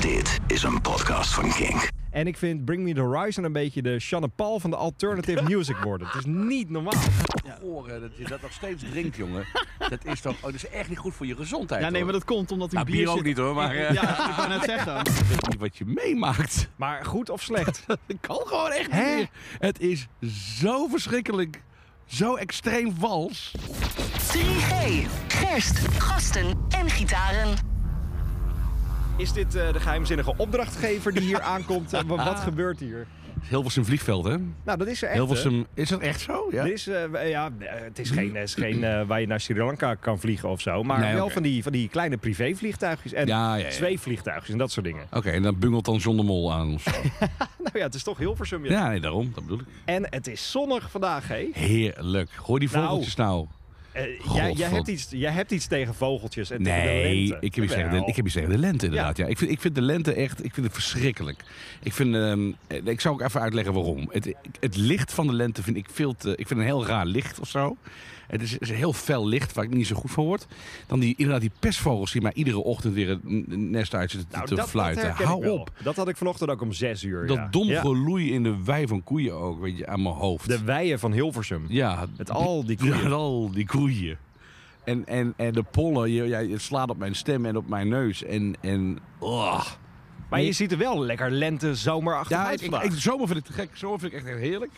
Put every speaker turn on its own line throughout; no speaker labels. Dit is een podcast van Kink.
En ik vind Bring Me The Horizon een beetje de Shanna Paul van de alternative music worden. Het is niet normaal.
Oren, dat je dat nog steeds drinkt, jongen. Dat is toch oh, dat is echt niet goed voor je gezondheid.
Ja, nee,
hoor.
maar dat komt omdat hij
Nou, bier ook
zit-
niet hoor, maar eh,
Ja, ik wou net zeggen.
ik weet niet wat je meemaakt.
Maar goed of slecht?
Dat kan gewoon echt niet
Hè?
meer. Het is zo verschrikkelijk, zo extreem vals.
3G. Gerst, gasten en gitaren.
Is dit eh, de geheimzinnige opdrachtgever die hier aankomt? Eh, wa- Wat, gebeurt hier?
Hilversum vliegveld, hè?
Nou, dat is er echt. hè?
Hilversum, is dat echt zo? Ja.
Dit is, eh, w- eh, ja, eh, het is geen, het is geen eh, waar je naar Sri Lanka kan vliegen of zo. Maar
Nee,
wel
oké.
van, die, van die kleine privévliegtuigjes en
Ja, ja, ja.
zweefvliegtuigjes en dat soort dingen.
Oké, en dan bungelt dan John de Mol aan of zo.
Nou ja, het is toch Hilversum. Ja.
Ja, nee, daarom. Dat bedoel ik.
En het is zonnig vandaag, hé.
Heerlijk. Hoor die
Nou.
vogeltjes nou.
Eh,
God,
jij, jij,
wat-
hebt iets, jij hebt iets tegen vogeltjes en tegen de
Nee,
lente.
ik heb iets tegen de,
Jawel.
ik heb iets tegen de lente inderdaad. Ja. Ik, vind, ik vind de lente echt, ik vind het verschrikkelijk. Ik vind, ehm, eh, ik zou ook even uitleggen waarom. Het, het licht van de lente vind ik veel te, ik vind een heel raar licht of zo. Het is, is een heel fel licht waar ik niet zo goed van word. Dan die, inderdaad die pestvogels die mij iedere ochtend weer het n- n- nest uit zitten
Nou,
te
dat,
fluiten.
dat herken ik
Hou
wel.
op.
Dat had ik vanochtend ook om zes uur.
Dat
ja.
dom
Ja.
geloei in de wei van koeien ook, weet je, aan mijn hoofd.
De weien van Hilversum.
Ja,
Met al die koeien.
met al die koeien. En, en, en de pollen, je, ja, het slaat op mijn stem en op mijn neus. En, en oh.
Maar je ziet er wel lekker lente, zomer
ja, ik,
achteruit
ik,
vandaag.
ik- zomer vind ik te gek. Zomer vind ik echt echt heerlijk.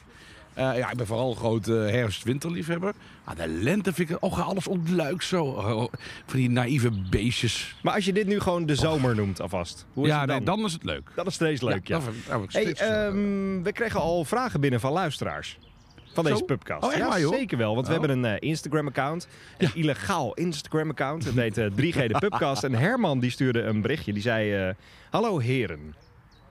Eh, ja, ik ben vooral een groot eh, herfst-winterliefhebber. Maar de lente vind ik... Oh, ga alles ontluikt zo. Oh, van die naïeve beestjes.
Maar als je dit nu gewoon de zomer noemt alvast. Hoe is
ja,
het dan?
nee, dan is het leuk.
Dat is steeds leuk, ja.
dan vind ik- dan vind ik
Hey,
steeds gezellig.
ehm, we kregen al vragen binnen van luisteraars. Van deze
Zo?
pubcast.
Oh, echt
ja,
waar, joh?
zeker wel. Want we
Oh.
hebben een eh, Instagram-account. Een illegaal Instagram-account. Het heet eh, 3G de pubcast. En Herman die stuurde een berichtje. Die zei... eh, Hallo heren.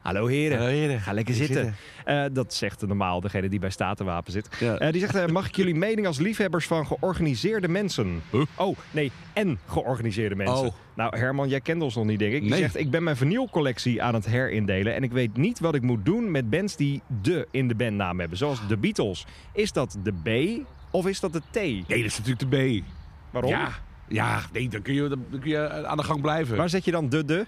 Hallo heren.
Hallo, heren.
Ga lekker
Lekker
zitten. Eh, dat zegt normaal degene die bij Statenwapen zit.
Ja.
Eh, die zegt, eh, mag ik jullie mening als liefhebbers van georganiseerde mensen?
Huh?
Oh, nee, en georganiseerde mensen.
Oh.
Nou, Herman, jij kent ons nog niet, denk ik. Die
Nee.
zegt, ik ben mijn vinylcollectie aan het herindelen... en ik weet niet wat ik moet doen met bands die de in de bandnaam hebben. Zoals de Beatles. Is dat de B of is dat de T?
Nee, dat is natuurlijk de B.
Waarom?
Ja, ja nee, dan kun, je, dan kun je aan de gang blijven.
Waar zet je dan de de?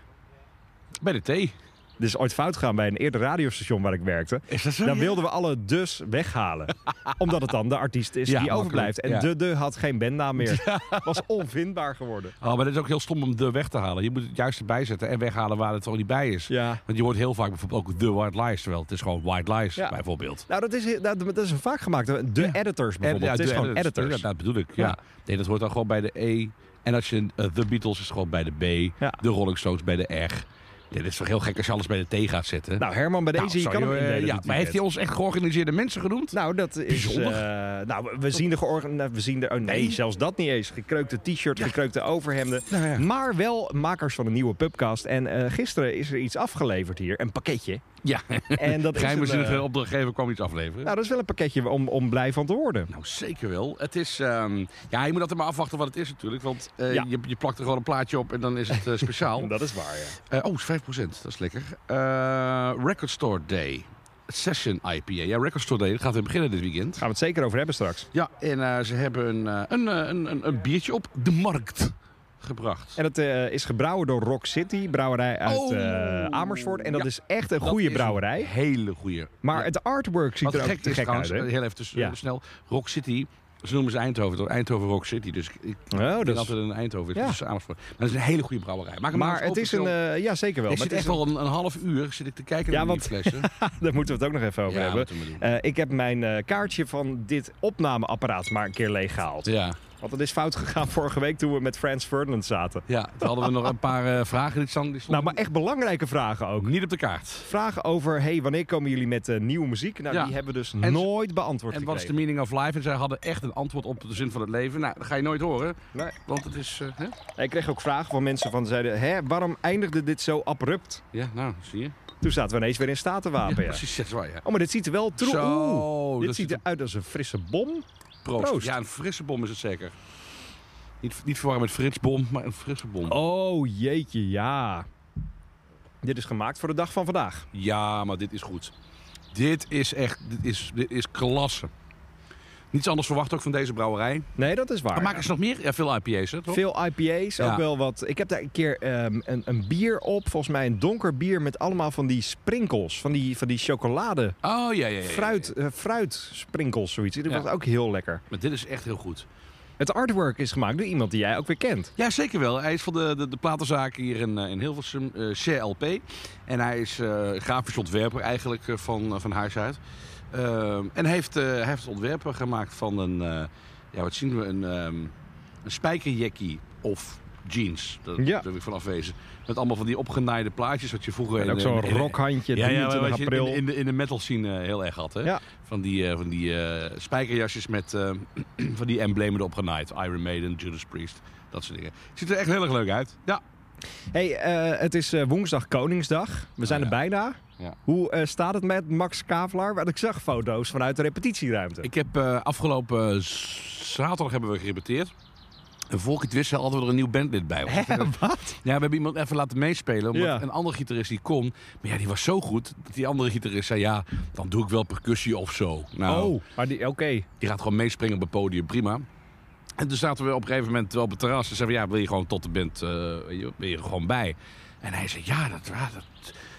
Bij de thee.
Dit is Dus ooit fout gegaan bij een eerder radiostation waar ik werkte.
Is dat zo?
Dan
ja?
wilden we alle dus weghalen. Omdat het dan de artiest is
Ja,
die overblijft. En de
makkelijk,
de had geen bandnaam meer. Was onvindbaar geworden.
Oh, maar dat is ook heel stom om de weg te halen. Je moet het juist erbij zetten en weghalen waar het al niet bij is.
Ja.
Want je hoort heel vaak bijvoorbeeld ook de white lies, terwijl het is gewoon white lies
Ja.
bijvoorbeeld.
Nou, dat is, heel- nou, dat is een vaak gemaakt. De editors
ja,
bijvoorbeeld. het is
de
gewoon editors.
Ja, dat bedoel ik. Ja.
Ja.
Nee, dat hoort dan gewoon bij de E. En als je eh, The Beatles is gewoon bij de B.
Ja.
De Rolling Stones bij de R. Nee, dat is toch heel gek als je alles bij de T gaat zetten.
Nou, Herman, bij deze
Nou,
je
sorry,
kan
hoor,
hem
eh,
indelen
ja,
dit
Maar heeft hij
weekend.
ons echt georganiseerde mensen genoemd?
Nou, dat is...
Bijzonder.
eh, nou, we zien de georganiseerde... We zien de... Oh, nee,
Nee.
zelfs dat niet eens. Gekreukte t-shirt, gekreukte overhemden.
Nou ja.
Maar wel makers van een nieuwe pubcast. En eh, gisteren is er iets afgeleverd hier. Een pakketje.
ja.
En dat is een,
Geheimzinnige
eh,
opdrachtgever kwam iets afleveren.
Nou, dat is wel een pakketje om, om blij van te worden.
Nou, zeker wel. Het is, ehm, ja, je moet altijd maar afwachten wat het is natuurlijk. Want eh,
Ja.
je, je plakt er gewoon een plaatje op en dan is het eh, speciaal.
Dat is waar, ja.
Eh, oh, is 5%. Dat is lekker. Eh, Record Store Day. Session IPA. Ja, Record Store Day. Dat gaat weer beginnen dit weekend.
Gaan we het zeker over hebben straks.
Ja, en eh, ze hebben een, eh, een, eh, een, een, een biertje op de markt gebracht.
En dat eh, is gebrouwen door Rock City, brouwerij uit
Oh.
eh, Amersfoort. En dat
Ja.
is echt een
Dat
goede
is een
brouwerij.
hele goede.
Maar het artwork ziet
Wat
er ook
gek
te
is
gek uit,
trouwens,
hè?
heel even tussen,
Ja.
snel. Rock City, ze noemen ze Eindhoven toch? Eindhoven Rock City. Dus ik, ik
Oh,
ben
dat is-
altijd in Eindhoven.
Ja.
Dus Amersfoort. Maar het is een hele goede brouwerij. Maak hem nou
Maar
eens
het
open,
is een...
Sil.
eh, ja, zeker wel.
ik
Maar
zit
het
echt
is een-
wel een, een half uur zit ik te kijken
Ja,
naar
want-
die flessen.
Daar moeten we het ook nog even over
Ja,
hebben.
moeten we doen.
Eh, ik heb mijn eh, kaartje van dit opnameapparaat maar een keer leeggehaald.
ja.
Want het is fout gegaan vorige week toen we met Frans Ferdinand zaten.
ja, toen hadden we nog een paar eh, vragen die stonden. die
Nou,
stonden
maar echt belangrijke vragen ook.
Niet op de kaart.
Vragen over, hey, wanneer komen jullie met eh, nieuwe muziek? Nou,
Ja.
die hebben we dus
ze-
nooit beantwoord
En wat is de
gekregen.
meaning of life? En zij hadden echt een antwoord op de zin van het leven. Nou, dat ga je nooit horen.
Nee.
Want het is... eh, hè?
Ik kreeg ook vragen van mensen van zeiden, hè, waarom eindigde dit zo abrupt?
Ja, nou, zie je.
Toen zaten we ineens weer in statenwapen. Ja,
Precies, dat is waar, ja.
Oh, maar dit ziet er wel troe.
Zo,
Oeh, dit
dat
ziet
ziet er-
eruit als een frisse bom.
Proost.
Proost.
Ja, een frisse bom is het zeker. Niet, niet verwarren met Fritsbom, maar een frisse bom.
Oh, jeetje, ja. Dit is gemaakt voor de dag van vandaag.
Ja, maar dit is goed. Dit is echt... Dit is, dit is klasse. Niets anders verwacht ook van deze brouwerij.
Nee, dat is waar.
Maar maken ze nog meer? Ja, veel IPA's, hè, toch?
Veel IPA's,
Ja.
ook wel wat. Ik heb daar een keer ehm, een, een bier op, volgens mij een donker bier met allemaal van die sprinkels, van die, van die chocolade,
Oh, ja, ja, ja, ja.
fruit, eh, fruitsprinkels, zoiets. Dat
Ja.
was ook heel lekker.
Maar dit is echt heel goed.
Het artwork is gemaakt door iemand die jij ook weer kent.
Ja, zeker wel. Hij is van de, de, de platenzaak hier in, eh, in Hilversum, eh, CLP. En hij is eh, grafisch ontwerper eigenlijk eh, van, eh, van huis uit. Ehm, en hij heeft, eh, hij heeft ontwerpen gemaakt van een, eh, ja, wat zien we, een, ehm een spijkerjackie of jeans. Dat
Ja.
durf ik van afwezen. Met allemaal van die opgenaaide plaatjes wat je vroeger...
En
in
ook
de-
zo'n
in- in-
rokhandje,
Eh, ja, ja,
23
wat je
april.
in, in de, in de metal scene eh, heel erg had. Hè?
Ja.
Van die, eh, van die eh, spijkerjasjes met eh, van die emblemen erop genaaid. Iron Maiden, Judas Priest, dat soort dingen. Ziet er echt heel erg leuk uit. Ja.
hey, eh, het is eh, woensdag Koningsdag. We zijn
Oh, ja.
er bijna.
Ja.
Hoe eh, staat het met Max Kavelaar? Want ik zag foto's vanuit de repetitieruimte.
Ik heb eh, afgelopen z- zaterdag hebben we gerepeteerd. En voor ik het wist hadden we er een nieuw bandlid bij.
Hè, wat?
Ja, we hebben iemand even laten meespelen. Omdat
Ja.
een andere gitarist die kon. Maar ja, die was zo goed dat die andere gitarist zei... Ja, dan doe ik wel percussie of zo. Nou,
Oh, maar die, oké.
Die gaat gewoon meespringen op het podium, prima. En toen zaten we op een gegeven moment wel op het terras. En zeiden we, ja, wil je gewoon tot de band, eh, weet je, ben je er gewoon bij? En hij zei, ja, dat, ja, dat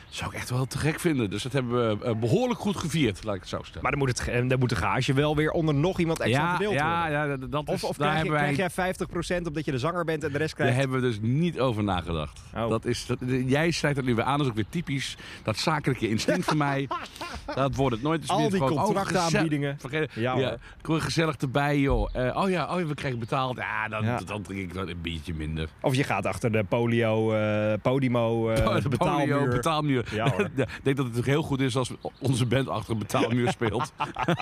zou ik echt wel te gek vinden. Dus dat hebben we eh, behoorlijk goed gevierd, laat ik het zo stellen.
Maar dan moet, het, ge- eh, dan moet de gage wel weer onder nog iemand extra
ja,
verdeeld
ja,
worden.
ja, dat- dat is,
Of,
daar
of krijg, je,
hebben wij,
krijg jij 50% omdat je de zanger bent en de rest
daar
krijgt...
hebben we dus niet over nagedacht.
Oh.
Dat is, dat, jij snijdt dat nu weer aan, dat is ook weer typisch. Dat zakelijke instinct van mij, dat wordt het nooit. Het is
Al
meer
die
gewoon, oh,
contractaanbiedingen.
Vergeet,
Ja,
ja,
hoor.
Gewoon gezellig erbij, joh. Eh, oh, ja, oh ja, we krijgen betaald. Ja, dan,
Ja.
dan drink ik wel een biertje minder.
Of je gaat achter de polio, eh, podimo, eh
Oh, de
betaalmuur.
polio, betaalmuur.
Ja, hoor.
ik denk dat het ook heel goed is als onze band achter een betaalmuur speelt.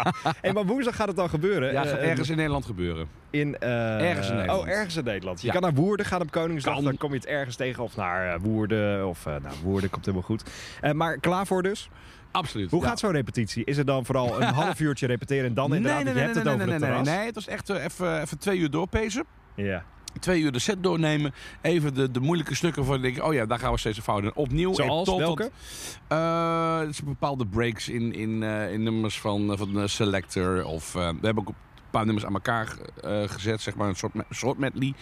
Hey, maar woensdag gaat het dan gebeuren.
Ja,
Eh,
gaat ergens in Nederland gebeuren.
in, eh,
ergens in Nederland.
Oh, ergens in Nederland. Je
Ja.
kan naar Woerden gaan op Koningsdag.
Kan.
Dan kom je het ergens tegen. Of naar eh, Woerden. Of eh nou, Woerden komt helemaal goed. Eh, maar klaar voor dus.
Absoluut.
Hoe
ja.
gaat zo'n repetitie? Is het dan vooral een half uurtje repeteren en dan
Nee,
inderdaad...
nee, nee,
je
nee,
hebt
nee,
het
nee,
over
nee,
het
nee,
terras?
nee. Het was echt eh, even, even twee uur doorpezen.
Ja.
Twee uur de set doornemen. Even de, de moeilijke stukken van denk ik, oh ja, daar gaan we steeds fouten. Opnieuw.
Zoals?
tot-
Welke?
tot- Eh, het zijn bepaalde breaks in, in, eh, in nummers van, eh, van eh, Selector. Of, eh, we hebben ook een paar nummers aan elkaar eh, gezet, zeg maar, een soort, me- soort medley.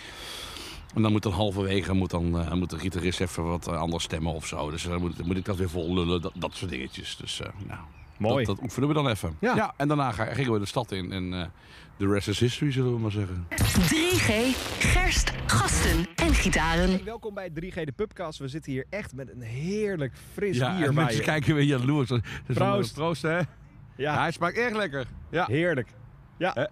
En dan moet dan halverwege moet dan, eh, moet de gitarist even wat eh, anders stemmen of zo. Dus dan moet, dan moet ik dat weer vol lullen, dat, dat soort dingetjes. Dus eh, nou,
Mooi.
Dat, dat oefenen we dan even.
Ja.
en daarna ga- gingen we de stad in en eh the rest is history, zullen we maar zeggen.
3G, gerst, gasten en gitaren.
Hey, welkom bij 3G de Pubcast. We zitten hier echt met een heerlijk fris
Ja,
bier
en
bij
mensen
je.
kijken weer jaloers. Dat is allemaal-
Proost.
Proost, hè.
Ja,
hij smaakt echt lekker. Ja.
heerlijk. Ja.
Eh.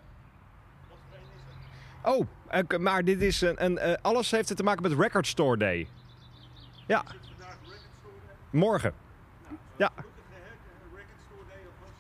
Oh, eh, k- maar dit is een, een eh, alles heeft het te maken met Record Store Day. Ja. Morgen. Ja,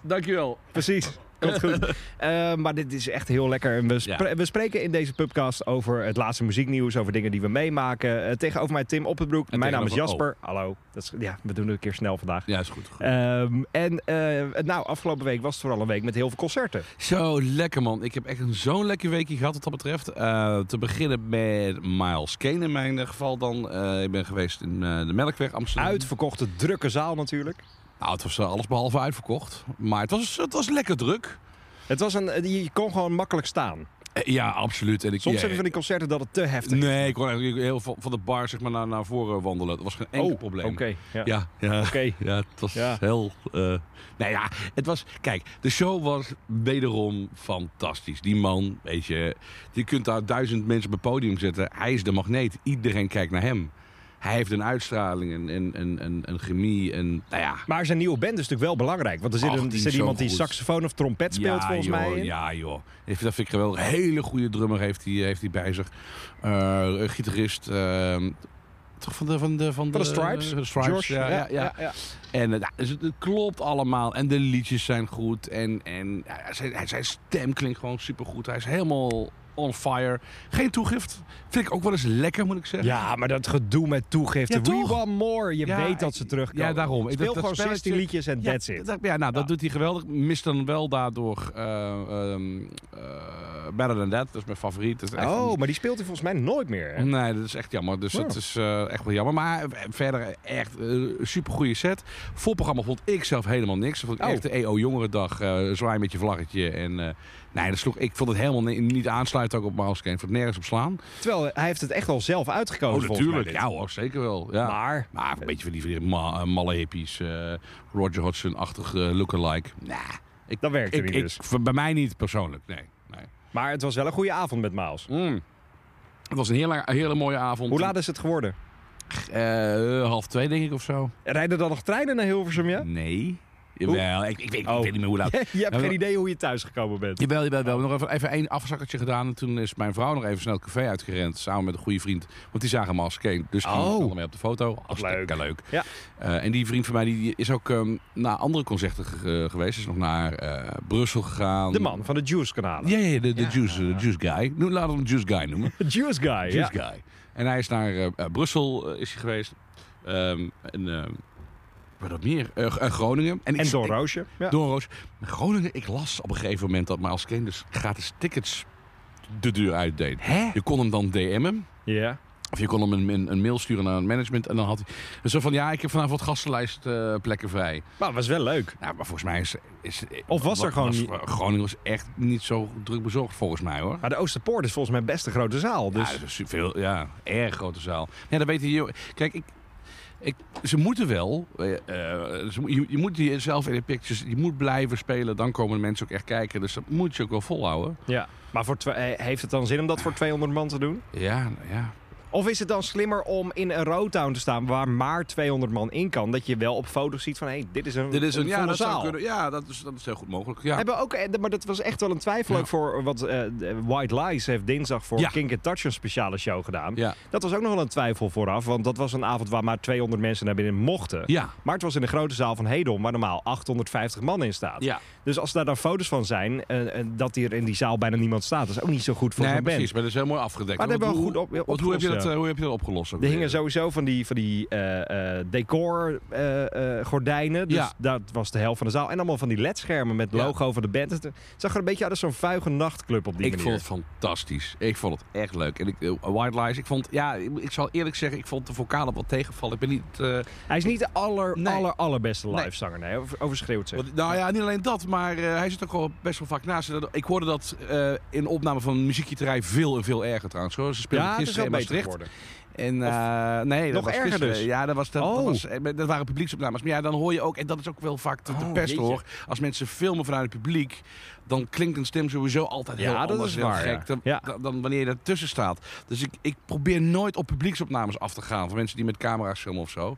Dankjewel.
precies. Komt goed. Eh, maar dit is echt heel lekker. En We, spre-
Ja.
we spreken in deze podcast over het laatste muzieknieuws, over dingen die we meemaken. Eh, tegenover mij Tim Oppenbroek.
En
Mijn naam is
tegenover- oh.
Jasper. Hallo. Dat is, ja, we doen het een keer snel vandaag.
Ja, is goed. goed.
Ehm, en eh, nou, afgelopen week was het vooral een week met heel veel concerten.
Zo lekker man. Ik heb echt een- zo'n lekker weekje gehad wat dat betreft. Eh, te beginnen met Miles Kane in mijn eh, geval dan. Eh, ik ben geweest in eh, de Melkweg Amsterdam.
Uitverkochte, drukke zaal natuurlijk.
Nou, het was eh, alles behalve uitverkocht. Maar het was, het was lekker druk.
Het was een, eh, je kon gewoon makkelijk staan.
Eh, ja, absoluut. En ik,
Soms
ja,
hebben we van die concerten dat het te heftig is.
Nee, ik kon eigenlijk heel van, van de bar zeg maar, naar, naar voren wandelen. Dat was geen enkel
Oh,
probleem.
Oké. Ja.
Ja, ja.
Oké.
Ja, het was
Ja.
heel... eh nou ja, het was... Kijk, de show was wederom fantastisch. Die man, weet je... Je kunt daar duizend mensen op het podium zetten. Hij is de magneet. Iedereen kijkt naar hem. Hij heeft een uitstraling, een, een, een, een, een chemie, en Nou ja...
Maar zijn nieuwe band is natuurlijk wel belangrijk. Want er zit,
Ach,
een,
die
er
is
zit
zo
iemand die
goed.
saxofoon of trompet speelt
ja,
volgens
joh,
mij. in.
Ja, joh. Ik vind- Dat vind ik geweldig. Hele goede drummer heeft hij heeft hij bij zich. Eh, een gitarist... eh, toch van de, van de, van
Van de Stripes.
van de Eh, Stripes,
George,
ja, ja, ja.
ja.
En eh, nou, dus het, het klopt allemaal. En de liedjes zijn goed. En, en ja, zijn, hij- zijn stem klinkt gewoon supergoed. Hij is helemaal on fire. Geen toegift. Vind ik ook wel eens lekker, moet ik zeggen.
Ja, maar dat gedoe met toegifte.
Ja,
We
toch?
want more. Je
Ja,
weet dat ze terugkomen.
ja, daarom. Ik-
Speel
dat- dat
gewoon
spelletje-
16 liedjes en
Ja,
that's it.
dat- ja, nou, dat doet hij geweldig. Mist dan wel daardoor eh, ehm, eh, Better Than That, dat is mijn favoriet. Dat is echt
Oh, maar die speelt hij volgens mij nooit meer. hè?
Nee, dat is echt jammer. Dus dat
Ja.
is eh, echt wel jammer. Maar verder echt super supergoeie set. Voorprogramma vond ik zelf helemaal niks. Vond ik
Oh.
echt de EO Jongerendag, eh zwaai met je vlaggetje. En eh, nee, dat sloeg, ik vond het helemaal ni- niet aansluiten ook op Miles Kane. Ik vond het nergens op slaan.
Terwijl eh, hij heeft het echt wel zelf uitgekozen.
Oh,
volgens mij,
natuurlijk.
dit.
Ja hoor, zeker wel. Ja.
Maar
Maar een beetje van die, van die ma- eh, malle hippies. eh, Roger Hodgson-achtig eh, lookalike. Nah, ik,
dat werkte
ik,
niet
ik,
dus.
voor- bij mij niet persoonlijk, nee. nee.
Maar het was wel een goede avond met Miles.
Mm. Het was een hele, hele mooie avond.
Hoe laat is het geworden?
Eh, half twee, denk ik, of zo.
Rijden dan nog treinen naar Hilversum, ja?
Nee. Jawel, ik, ik, weet- ik
Oh.
weet niet meer hoe laat.
Je hebt
Ja,
geen
maar-
idee hoe je thuisgekomen bent.
Jawel, jawel, jawel. We hebben nog even, even één afzakkertje gedaan. En toen is mijn vrouw nog even snel het café uitgerend. Samen met een goede vriend. Want die zagen Miles Kane. Dus die
Oh.
stelde mij op de foto. Hartstikke leuk.
Ja.
Eh, en die vriend van mij die, die is ook ehm, naar andere concerten ge- eh, geweest. Is nog naar eh, Brussel gegaan.
De man van de Juice-kanalen.
Ja, ja, ja, de, de juice, de juice Guy. Noem, laten we hem Juice Guy noemen.
Juice Guy, ja.
Juice Guy. En hij is naar eh, eh, Brussel eh, is hij geweest. Ehm, en ehm wat dat meer? Eh, G- eh, Groningen. ik-
En Don
ik-
Roosje. Ja.
Doorroos. Groningen, ik las op een gegeven moment dat Miles Kane dus gratis tickets de deur uitdeed.
Hè?
Je kon hem dan DM'en.
Ja.
Of je kon hem een, een, een mail sturen naar het management. En dan had hij zo van, ja, ik heb vanavond wat gastenlijst eh, plekken vrij.
Maar het was wel leuk.
Nou, maar volgens mij is... is
Of was er gewoon niet-
Groningen was echt niet zo druk bezorgd, volgens mij, hoor.
Maar de Oosterpoort is volgens mij best een grote zaal. Dus
Ja, dat is veel, ja, erg grote zaal. Ja, dat weten je. Kijk, ik, ik, ze moeten wel. eh, eh, ze mo- je, je moet jezelf in de pictures. Je moet blijven spelen. Dan komen de mensen ook echt kijken. Dus dat moet je ook wel volhouden.
Ja, maar voor twe- eh, heeft het dan zin om dat voor 200 man te doen?
Ja, nou ja.
Of is het dan slimmer om in een roadtown te staan waar maar 200 man in kan? Dat je wel op foto's ziet van, hé, dit is een, een
ja,
volle
dat
zaal.
zou kunnen. Ja, dat is, dat is heel goed mogelijk. Ja.
Hebben ook, eh, maar dat was echt wel een twijfel
Ja.
ook voor wat eh, de- White Lies heeft dinsdag voor
Ja.
Kink Touch een speciale show gedaan.
Ja.
Dat was ook nog wel een twijfel vooraf, want dat was een avond waar maar 200 mensen naar binnen mochten.
ja.
Maar het was in de grote zaal van Hedon, waar normaal 850 man in staat.
Ja,
Dus als daar dan foto's van zijn, eh, eh, dat hier in die zaal bijna niemand staat, dat is ook niet zo goed voor
nee,
zo'n band.
precies. Maar dat is heel mooi afgedekt.
Maar dat
Want
hebben we
hoe-
goed op,
want hoe, heb je
opgelost,
dat,
ja.
eh, hoe heb je dat opgelost? ook
Er hingen
weer?
sowieso van die, van die eh, eh, decor eh, eh, gordijnen. Dus
Ja.
dat was de helft van de zaal. En allemaal van die ledschermen met
Ja.
logo van de band. Het zag er een beetje uit als zo'n vuige nachtclub op die
Ik
manier.
vond het fantastisch. Ik vond het echt leuk. En ik, eh, White Lies, ik vond, ja, ik, ik zal eerlijk zeggen, ik vond de vocalen wat tegenvallen. Ik ben niet, eh,
Hij is niet de aller,
Nee.
aller, allerbeste
Nee.
livezanger. Nee, over- overschreeuwt zich.
Want- nou ja, niet alleen dat, maar eh, hij zit ook wel best wel vaak naast. Dat- Ik hoorde dat eh, in de opname van muziekjeterij veel en veel erger trouwens. Hoor. Ze speelden
Ja, het is
gisteren
wel
in
beter
Maastricht.
geworden.
En, eh, nee, dat
nog
was
erger
gisteren.
dus?
Ja, dat, was, dat, dat
Oh.
was, eh, dat waren publieksopnames. Maar ja, dan hoor je ook, en dat is ook wel vaak te, te
Oh,
pest
jeetje.
hoor. Als mensen filmen vanuit het publiek, dan klinkt een stem sowieso altijd heel
Ja, dat
anders
is
heel
waar,
gek
ja.
dan,
Ja.
dan- dan wanneer je daartussen staat. Dus ik, ik probeer nooit op publieksopnames af te gaan. Van mensen die met camera's filmen of zo.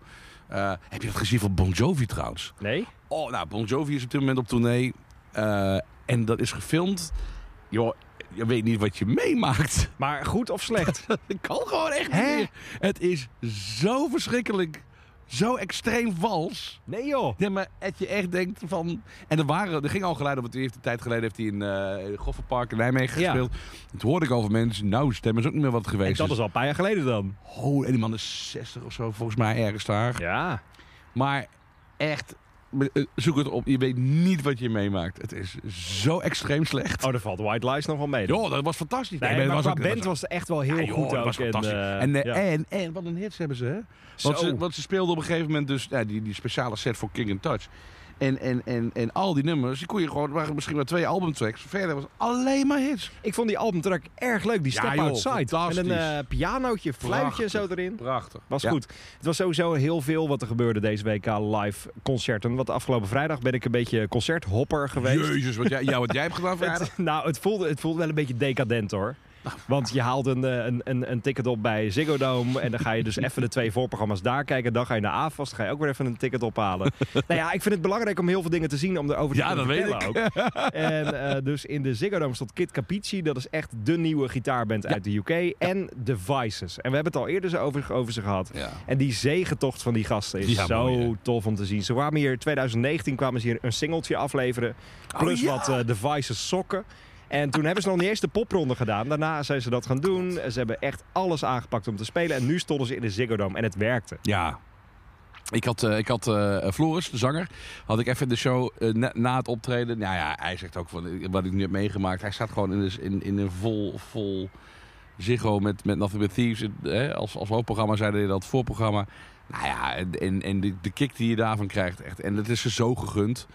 Eh, heb je dat gezien van Bon Jovi trouwens?
Nee?
Oh, nou, Bon Jovi is op dit moment op tournee. eh, en dat is gefilmd. Joh, je weet niet wat je meemaakt.
Maar goed of slecht?
Dat kan gewoon echt niet
Hè?
meer. Het is zo verschrikkelijk. Zo extreem vals.
nee joh.
Nee, maar dat je echt denkt van... En er, waren, er ging al geluiden, want die heeft een tijd geleden heeft hij in eh Gofferpark in Nijmegen
Ja.
gespeeld. Dat hoorde ik al van mensen. Nou, stemmen is ook niet meer wat
En
geweest.
dat is al een paar jaar geleden dan.
Oh, en die man is 60 of zo volgens mij ergens daar.
Ja.
Maar echt, eh, zoek het op. Je weet niet wat je meemaakt. Het is zo extreem slecht.
Oh, daar valt White Lies nog wel mee. dan.
Joh, dat was fantastisch.
Nee,
dat
maar
was
qua
ook- dat
band
was-
was het echt wel heel
Ja, joh,
goed
dat
ook.
was fantastisch.
En, eh,
en, eh,
ja.
en, en, wat een hits hebben ze, hè? Want
Zo.
ze, want ze speelden op een gegeven moment dus ja, die, die speciale set voor King and Touch. En, en, en, en al die nummers, die kon je gewoon, waren misschien maar twee albumtracks. Verder was het alleen maar hits.
Ik vond die albumtrack erg leuk. Die
Ja,
Step
joh,
Outside. Met een eh,
fantastisch.
pianootje, fluitje en zo
Prachtig.
erin.
Prachtig.
Was
Ja.
goed. Het was sowieso heel veel wat er gebeurde deze week aan live concerten. Want afgelopen vrijdag ben ik een beetje concerthopper geweest.
Jezus, wat jij, ja, wat jij hebt gedaan vrijdag.
Het, nou, het voelde, het voelde wel een beetje decadent hoor. Want je haalt een, eh, een, een, een ticket op bij Ziggo Dome. En dan ga je dus even de twee voorprogramma's daar kijken. Dan ga je naar AFAS. Dan ga je ook weer even een ticket ophalen. nou ja, ik vind het belangrijk om heel veel dingen te zien. Om erover te
Ja,
kunnen
dat weet
vertellen ook. En eh, dus in de Ziggo Dome stond Kid Capici. Dat is echt de nieuwe gitaarband uit de UK. En The Vices. En we hebben het al eerder zo over, over ze gehad.
Ja.
En die zegentocht van die gasten is
Ja,
zo
mooi, hè?
tof om te zien. Ze kwamen hier in 2019 kwamen ze hier een singeltje afleveren. Plus
Oh, ja!
wat eh devices sokken. En toen hebben ze nog niet eens de popronde gedaan. Daarna zijn ze dat
Oh,
gaan doen. Ze hebben echt alles aangepakt om te spelen. En nu stonden ze in de Ziggo Dome en het werkte.
Ja. Ik had, eh, ik had eh, Floris, de zanger, had ik even in de show eh, na, na het optreden. Nou ja, hij zegt ook van eh, wat ik nu heb meegemaakt. Hij staat gewoon in, een- in, in een vol, vol ziggo met, met Nothing But Thieves. Het, eh, als, als hoofdprogramma zeiden hij dat voorprogramma. Nou ja, en- en, en de, de kick die je daarvan krijgt echt. En dat is ze zo gegund.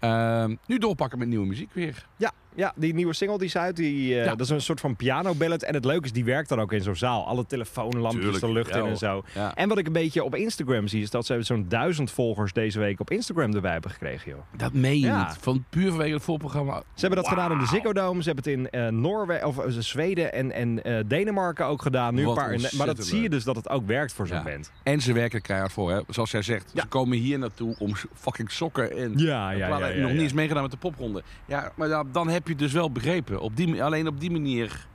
Ehm, nu doorpakken met nieuwe muziek weer.
Ja, ja, die nieuwe single die is uit. Die, eh,
Ja.
Dat is een soort van piano ballet. En het leuke is, die werkt dan ook in zo'n zaal. Alle telefoonlampjes
Tuurlijk,
de lucht
ja,
in en
hoor.
zo.
Ja.
En wat ik een beetje op Instagram zie, is dat ze zo'n duizend volgers deze week op Instagram erbij hebben gekregen, joh.
Dat meen je
Ja.
niet. Van puur vanwege het voorprogramma.
Ze hebben dat gedaan in de Ziggo Dome. Ze hebben het in eh, Noorwegen, of eh, Zweden en, en eh, Denemarken ook gedaan. Nu een
Wat
paar in- maar dat
ontzettend
zie je
leuk.
dus dat het ook werkt voor zo'n
Ja.
band.
En ze werken er keihard voor, hè. Zoals jij zegt,
Ja.
ze komen hier naartoe om s- fucking sokken en...
Ja,
We hadden nog niet eens meegedaan met de popronde. Ja, maar dan, dan heb je het dus wel begrepen. Op die, alleen op die manier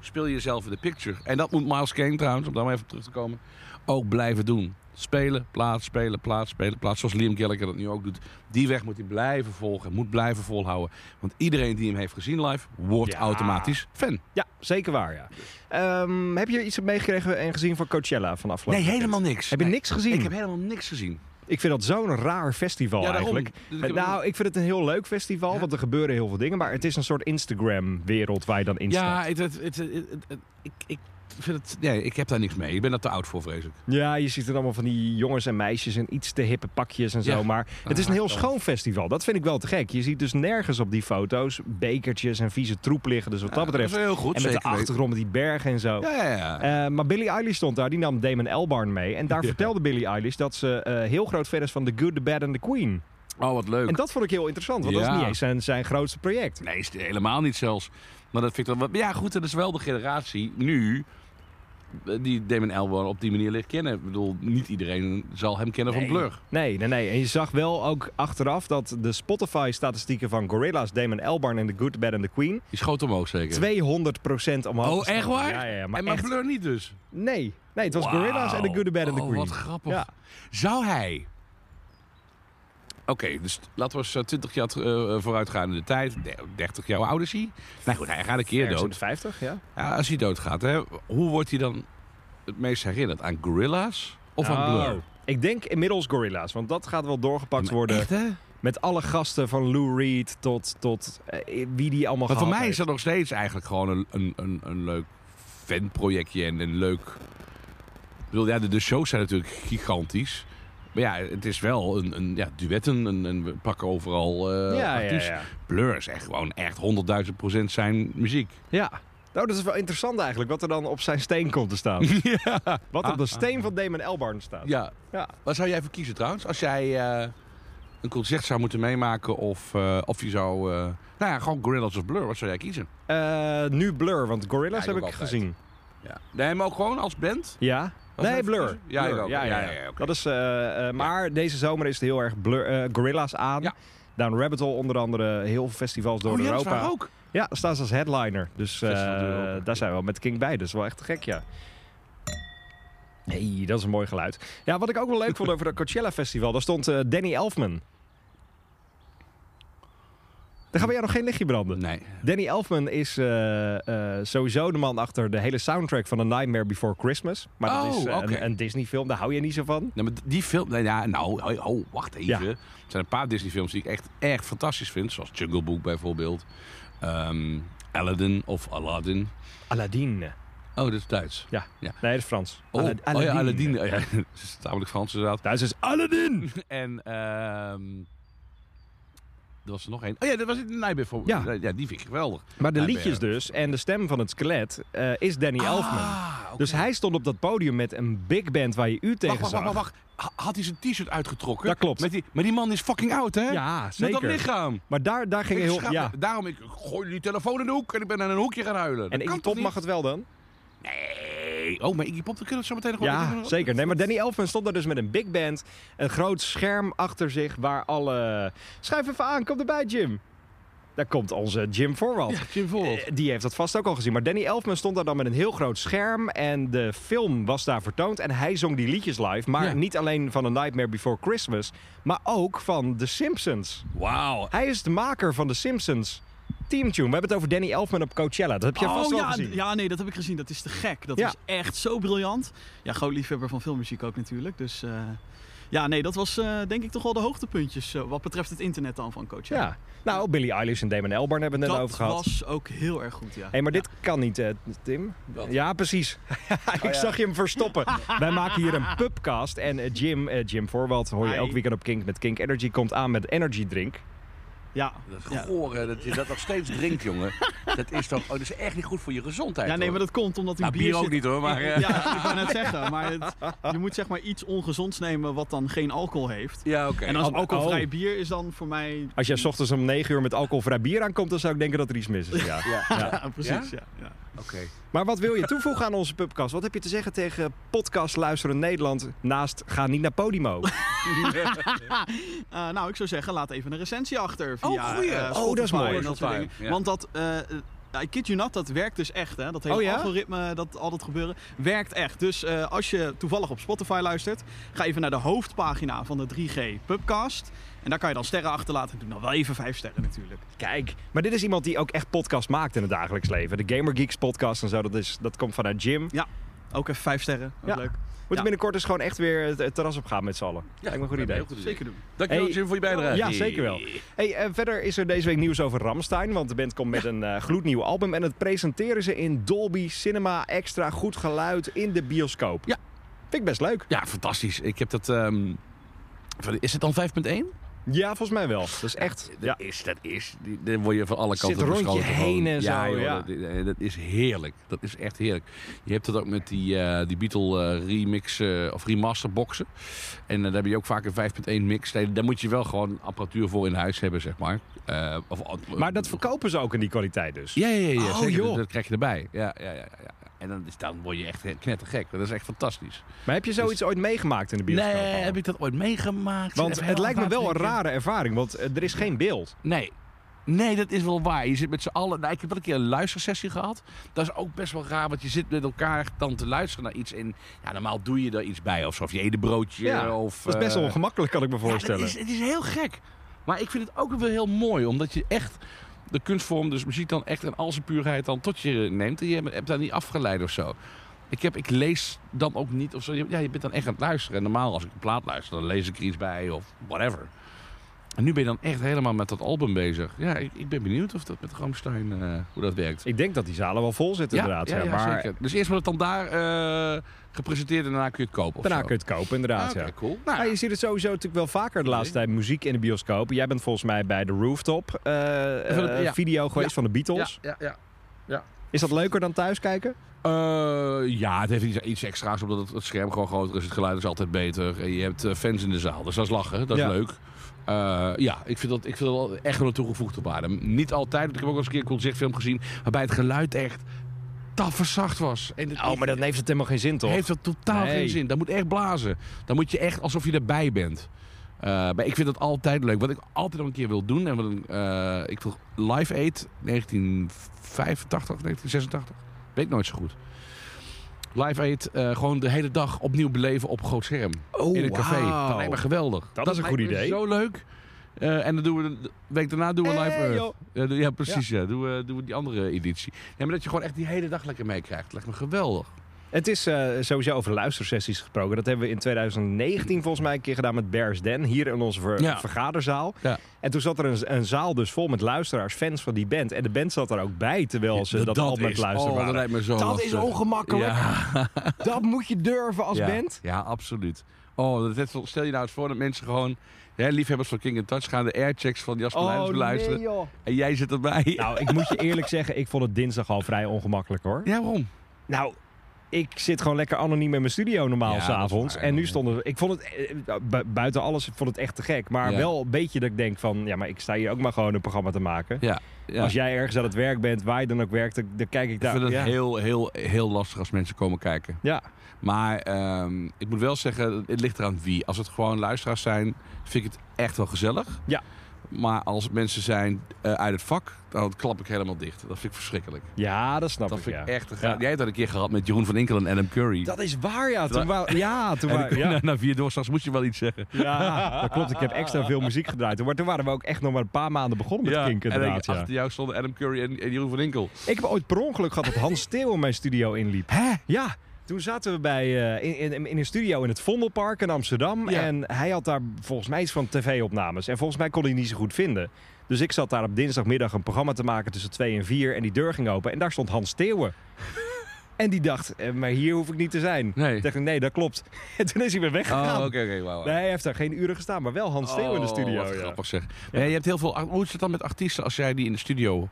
speel je jezelf in de picture. En dat moet Miles Kane trouwens, om daar maar even op terug te komen, ook blijven doen. Spelen, plaats, spelen, plaats, spelen, plaats. Zoals Liam Gallagher dat nu ook doet. Die weg moet hij blijven volgen, moet blijven volhouden. Want iedereen die hem heeft gezien live, wordt
Ja.
automatisch fan.
Ja, zeker waar, ja. Ehm, heb je iets meegekregen en gezien van Coachella van afgelopen
Nee,
weekend?
helemaal niks.
Heb je
Nee,
niks gezien?
Ik heb helemaal niks gezien.
Ik vind dat zo'n raar festival
Ja, daarom.
Oh, eigenlijk.
Dus ik-
nou, ik vind het een heel leuk festival,
Ja.
want er gebeuren heel veel dingen. Maar het is een soort Instagram-wereld waar je dan in
Ja, het,
staat.
het, het, het- het- het- ik, ik vind het... Nee, ik heb daar niks mee. Ik ben daar te oud voor, vrees ik.
Ja, je ziet er allemaal van die jongens en meisjes in iets te hippe pakjes en zo.
Ja.
Maar het is een
Ah,
heel
dan.
schoon festival. Dat vind ik wel te gek. Je ziet dus nergens op die foto's bekertjes en vieze troep liggen. Dus wat dat betreft.
is heel goed,
en met de
zeker weten.
achtergrond met die bergen en zo.
Ja, ja, ja.
Eh, maar Billie Eilish stond daar, die nam Damon Albarn mee. En daar
Ja.
vertelde Billie Eilish dat ze eh, heel groot fan is van The Good, The Bad and The Queen.
Oh, wat leuk.
En dat vond ik heel interessant, want dat
Ja.
is niet eens zijn, zijn grootste project.
Nee, is helemaal niet zelfs. Maar dat vind ik dan wat... Ja, goed, dat is wel de generatie nu eh, die Damon Albarn op die manier leert kennen. Ik bedoel, niet iedereen zal hem kennen van Blur.
Nee, nee, nee. En je zag wel ook achteraf dat de Spotify-statistieken van Gorillaz, Damon Albarn en The Good, The Bad and The Queen...
Die schoot omhoog zeker.
200% omhoog.
Oh,
gestaan.
echt waar?
Ja, ja, ja, maar,
en maar
echt-
Blur niet dus.
Nee. Nee, het was
Wauw.
Gorillaz en The Good, The Bad and The
Oh,
Queen.
wat grappig.
Ja.
Zou hij... Oké, dus laten we eens eh, 20 jaar eh, vooruit gaan in de tijd. De- 30 jaar oud is hij. Nou goed, hij gaat een keer
Ergens in
dood.
de 50, ja.
Ja, als hij doodgaat, hè, hoe wordt hij dan het meest herinnerd? Aan Gorilla's of aan
Oh.
Blur?
Ik denk inmiddels Gorillaz, want dat gaat wel doorgepakt
Maar
worden.
Echt, hè?
Met alle gasten van Lou Reed tot, tot eh, wie die allemaal
Maar voor mij
gehad
is
heeft.
dat nog steeds eigenlijk gewoon een, een, een, een leuk fanprojectje en een leuk... Ik bedoel, ja, de, de shows zijn natuurlijk gigantisch. Maar ja, het is wel een, een ja, duetten en, en we pakken overal eh
ja, ja,
artiesten.
ja.
Blur is echt gewoon echt 100.000 procent zijn muziek.
Ja. Nou, dat is wel interessant eigenlijk, wat er dan op zijn steen komt te staan. Wat op de steen van Damon Albarn staat.
Ja,
Ja.
Waar zou jij voor kiezen trouwens? Als jij eh, een concert zou moeten meemaken of, eh, of je zou... eh, nou ja, gewoon Gorillaz of Blur. Wat zou jij kiezen?
Eh, nu Blur, want Gorillaz
Ja, ik
heb ik
ook altijd.
gezien.
Ja. Nee, maar ook gewoon als band?
Ja?
Wat
nee,
heeft-
Blur.
Ja,
Blur.
ik ook.
Ja, ja,
Ja,
ja.
ja, oké.
Dat is, eh, eh, maar deze zomer is het heel erg blur, eh, Gorilla's aan.
Ja.
Down Rabbit Hole onder andere, heel veel festivals door
oh ja, dat is
Europa.
waar ook.
Ja, daar staan ze als headliner. Dus eh,
Festival door Europa.
daar zijn we wel met King bij. Dat is wel echt te gek, ja. hey, dat is een mooi geluid. Ja, wat ik ook wel leuk vond over dat Coachella Festival, daar stond eh, Danny Elfman. Daar gaan we jou nog geen lichtje branden.
Nee.
Danny Elfman is eh, eh, sowieso de man achter de hele soundtrack van A Nightmare Before Christmas. Maar dat
Oh,
is eh,
oké.
een, een Disney-film, daar hou je niet zo van.
Nee, maar die film... Nee, ja, nou, oh, oh, wacht even.
Ja.
Er zijn een paar Disney-films die ik echt, echt fantastisch vind. Zoals Jungle Book bijvoorbeeld. Ehm, Aladdin of Aladdin.
Aladdin.
Oh, dat is Duits.
Nee, dat is Frans.
Oh,
Ala-
oh ja, Aladdin. Oh, ja, dat is tamelijk Frans inderdaad.
Thuis is Aladdin!
En ehm er was er nog één. Oh ja, dat was in Nijbeer. voor-
Ja.
ja, die vind ik geweldig.
Maar de
Hij
liedjes
werkt.
dus en de stem van het skelet eh, is Danny Elfman.
Ah, oké.
Dus hij stond op dat podium met een big band waar je u tegen
Wacht, wacht,
zag.
wacht, wacht. Ha- Had hij zijn t-shirt uitgetrokken?
Dat klopt.
Met die, maar die man is fucking oud, hè?
Ja,
Met dat
zeker.
lichaam.
Maar daar, daar ging
Ik
heel...
schrap-
Ja.
Daarom, ik gooi die telefoon in de hoek en ik ben aan een hoekje gaan huilen.
En
ik
Iggy Pop mag het wel dan?
Nee. Oh, maar Iggy Pop, dan kunnen we het zo meteen nog wel
Ja,
even-
zeker. Nee, maar Danny Elfman stond daar dus met een big band. Een groot scherm achter zich waar alle... Schrijf even aan, kom erbij Jim. Daar komt onze Jim Voorwald.
Ja, Jim Voorwald.
Eh, Die heeft dat vast ook al gezien. Maar Danny Elfman stond daar dan met een heel groot scherm. En de film was daar vertoond. En hij zong die liedjes live. Maar
Ja.
niet alleen van A Nightmare Before Christmas. Maar ook van The Simpsons.
Wauw.
Hij is de maker van The Simpsons Team Tune. We hebben het over Danny Elfman op Coachella. Dat heb je vast
oh
wel
ja,
gezien.
ja, nee, dat heb ik gezien. Dat is te gek. Dat
Ja.
is echt zo briljant. Ja, groot liefhebber van filmmuziek ook natuurlijk. Dus eh, Ja, nee, dat was eh, denk ik toch wel de hoogtepuntjes eh, wat betreft het internet dan van Coachella.
Ja. Nou, Billie Eilish en Damon Elbarn hebben we het
dat
net over gehad.
was ook heel erg goed, ja.
Hé, maar dit kan niet, eh, Tim. Ja, precies.
Oh,
ik zag je hem verstoppen. Wij maken hier een pubcast. En eh, Jim, eh, Jim Voorwald, hoor je
Hi.
elk weekend op Kink met Kink Energy, komt aan met energy drink.
Ja,
Dat is
ja.
goor, hè, dat je dat nog steeds drinkt, jongen. Dat is toch... Oh, dat is echt niet goed voor je gezondheid,
ja nee, maar
hoor.
dat komt omdat u
Nou, bier ook
zit-
niet, hoor. Maar, eh, ja,
Ja, ik wou net zeggen. Maar het- je moet zeg maar iets ongezonds nemen wat dan geen alcohol heeft.
oké.
En als
Oh,
alcoholvrij
oh.
bier is dan voor mij...
Als jij 's ochtends om 9 uur met alcoholvrij bier aankomt, dan zou ik denken dat er iets mis is. Ja.
Ja,
Ja, precies. Ja? Ja,
oké.
Maar wat wil je toevoegen aan onze pubcast? Wat heb je te zeggen tegen podcast Luisteren Nederland naast Ga niet naar Podimo?
Eh, nou, ik zou zeggen, laat even een recensie achter. Via,
goeie.
eh,
Oh, dat is
Spotify
mooi.
en dat soort dingen.
Spotify, ja.
Want dat... eh, eh, I kid you not, dat werkt dus echt. Hè? Dat hele
Oh, ja?
algoritme, dat, al dat gebeuren, werkt echt. Dus eh, als je toevallig op Spotify luistert, ga even naar de hoofdpagina van de 3G Pubcast. En daar kan je dan sterren achterlaten. Doe dan wel even vijf sterren natuurlijk.
Kijk, maar dit is iemand die ook echt podcast maakt in het dagelijks leven. De Gamer Geeks podcast en zo, dat, is, dat komt vanuit Jim. Moet
Ook even vijf sterren. Ook
Ja.
leuk.
je binnenkort eens gewoon echt weer het, het terras op gaan met z'n allen. Ja, Lijkt me een goed idee.
Heel goed idee.
Zeker doen.
Dankjewel,
Hey.
Jim, voor je bijdrage.
Ja, zeker wel. Hey, eh, verder is er deze week nieuws over Ramstein. Want de band komt met een eh, gloednieuw album. En dat presenteren ze in Dolby Cinema Extra goed geluid in de bioscoop.
Ja.
Vind ik best leuk.
Ja, fantastisch. Ik heb dat... ehm, van- is het dan 5.1?
Ja, volgens mij wel. Dat is echt. Ja.
Dat is, dat is. die- Daar word je van alle
Zit
kanten
er rondje
beschoten
heen
gewoon.
en zo, ja.
Dat, eh, dat is heerlijk. Dat is echt heerlijk. Je hebt dat ook met die, eh, die Beatle eh, remix eh, of remaster boxen. En eh, daar heb je ook vaak een 5.1 mix. Nee, daar moet je wel gewoon apparatuur voor in huis hebben, zeg maar. Eh, of,
Maar dat verkopen ze ook in die kwaliteit dus.
Ja, ja, ja. ja
Oh,
zeker.
joh.
Dat, dat krijg je erbij. Ja, ja, ja, ja. ja. En dan, is, dan word je echt knettergek. Dat is echt fantastisch.
Maar heb je zoiets ooit meegemaakt in de bioscoop?
Dus- nee,
al?
heb ik dat ooit meegemaakt?
Want
Even
het
heel
lijkt me
hard
wel een
nadenken.
rare ervaring, want eh, er is geen beeld.
Nee. Nee, dat is wel waar. Je zit met z'n allen. Nou, ik heb wel een keer een luistersessie gehad. Dat is ook best wel raar, want je zit met elkaar dan te luisteren naar iets. En ja, normaal doe je er iets bij of zo. Of je eet een broodje. of,
dat is best wel
eh,
ongemakkelijk, kan ik me voorstellen.
ja, dat is, het is heel gek. Maar ik vind het ook wel heel mooi, omdat je echt de kunstvorm, dus muziek dan echt in al zijn puurheid dan tot je neemt. En je hebt daar niet afgeleid of zo. Ik, heb, ik lees dan ook niet of zo. Ja, je bent dan echt aan het luisteren. En normaal als ik een plaat luister, dan lees ik er iets bij of whatever. En nu ben je dan echt helemaal met dat album bezig. Ja, ik, ik ben benieuwd of dat met Ramstein, eh, hoe dat werkt.
Ik denk dat die zalen wel vol zitten inderdaad.
ja,
ja,
ja,
maar
zeker. Dus eerst wordt het dan daar eh, gepresenteerd en daarna kun je het kopen of
daarna
zo.
kun je het kopen inderdaad.
Ah, oké,
ja.
cool. Nou,
Ja, je ziet het sowieso natuurlijk wel vaker de laatste tijd muziek in de bioscoop. Jij bent volgens mij bij de rooftop eh,
Van de-
eh,
ja.
video geweest
Ja.
van de
ja,
Beatles.
ja, ja.
Is dat leuker dan thuis kijken?
Eh, ja, het heeft iets, iets extra's, omdat het, het scherm gewoon groter is. Het geluid is altijd beter. En je hebt eh, fans in de zaal, dus dat is lachen. Dat is
Ja.
leuk. Eh, ja, ik vind, dat, ik vind dat wel echt wel een toegevoegde waarde. Niet altijd, want ik heb ook al eens een keer een concertfilm gezien... waarbij het geluid echt tafferzacht was. En het
Oh, maar dat heeft het helemaal geen zin toch?
heeft dat totaal
Nee.
geen zin. Dat moet echt blazen. Dan moet je echt alsof je erbij bent. Eh, maar ik vind dat altijd leuk. Wat ik altijd nog een keer wil doen... En wat, ik, eh, ik wil Live Aid 1985, 1986. Weet ik nooit zo goed. Live Aid, eh, gewoon de hele dag opnieuw beleven op een groot scherm.
Oh,
in een café.
wauw.
Dat lijkt me geweldig.
Dat is een
lijkt
goed
me
idee.
Zo leuk. Eh, en dan doen we de- de week daarna doen we
Hey,
Live Earth.
joh.
Ja, doe- ja, precies. Ja. Doen, we, doen we die andere editie. Ja, maar dat je gewoon echt die hele dag lekker meekrijgt. Lijkt me geweldig.
Het is eh, sowieso over luistersessies gesproken. Dat hebben we in 2019 volgens mij een keer gedaan met Bears Den. Hier in onze ver-
Ja.
vergaderzaal.
Ja.
En toen zat er een, een zaal dus vol met luisteraars, fans van die band. En de band zat er ook bij terwijl ze eh, dat, al met
is-
luisteren
oh, dat
waren.
lijkt me zo
Dat
lastig.
is ongemakkelijk.
Ja,
Dat moet je durven als
ja.
band.
Ja, absoluut. Oh, dat net zo- stel je nou eens voor dat mensen gewoon... Hè, liefhebbers van King in Touch gaan de airchecks van
Oh,
Jasper Leijers beluisteren.
joh.
en jij zit erbij.
Nou, ik moet je eerlijk zeggen, ik vond het dinsdag al vrij ongemakkelijk hoor.
Ja, waarom?
Nou, ik zit gewoon lekker anoniem in mijn studio normaal
Ja, dat is
s'avonds.
waar,
En nu
ja.
stonden we... Ik vond het, eh, bu- buiten alles, ik vond het echt te gek. Maar
Ja.
wel een beetje dat ik denk van... Ja, maar ik sta hier ook maar gewoon een programma te maken.
Ja, ja.
Als jij ergens aan het werk bent, waar je dan ook werkt, dan, dan kijk ik
Ik
daar.
vind het
ja.
heel, heel, heel lastig als mensen komen kijken.
ja.
Maar ehm, ik moet wel zeggen, het ligt eraan wie. Als het gewoon luisteraars zijn, vind ik het echt wel gezellig.
Ja.
Maar als het mensen zijn eh, uit het vak, dan klap ik helemaal dicht. Dat vind ik verschrikkelijk.
ja, dat snap
Dat
ik,
vind
ja.
ik echt... een
Ja.
gra- Jij hebt dat een keer gehad met Jeroen van Inkel en Adam Curry.
Dat is waar, ja. Toen
Dat-
wou- ja, toen
En
wou-
dan-
ja.
na, na vier doorstaps moet je wel iets zeggen.
ja, dat klopt. Ik heb extra veel muziek gedraaid. Maar toen waren we ook echt nog maar een paar maanden begonnen met
en
kinken.
dan
inderdaad. ja.
achter jou stonden Adam Curry en, en Jeroen van Inkel.
Ik heb ooit per ongeluk gehad dat Hans Steeuw in mijn studio inliep.
Hè?
Ja, Toen zaten we bij, eh, in, in, in een studio in het Vondelpark in Amsterdam.
Ja.
En hij had daar volgens mij iets van tv-opnames. En volgens mij kon hij niet zo goed vinden. Dus ik zat daar op dinsdagmiddag een programma te maken tussen twee en vier. En die deur ging open en daar stond Hans Steeuwen. en die dacht, eh, maar hier hoef ik niet te zijn.
Nee.
Toen dacht ik, nee, dat klopt. En toen is hij weer
Oh,
weggegaan.
oké, oké. wauw.
Nee, hij heeft daar geen uren gestaan, maar wel Hans Steeuwen in de
Oh,
studio.
wat
ja.
grappig zeg. Maar ja, je hebt heel veel... Hoe is het dan met artiesten als jij die in de studio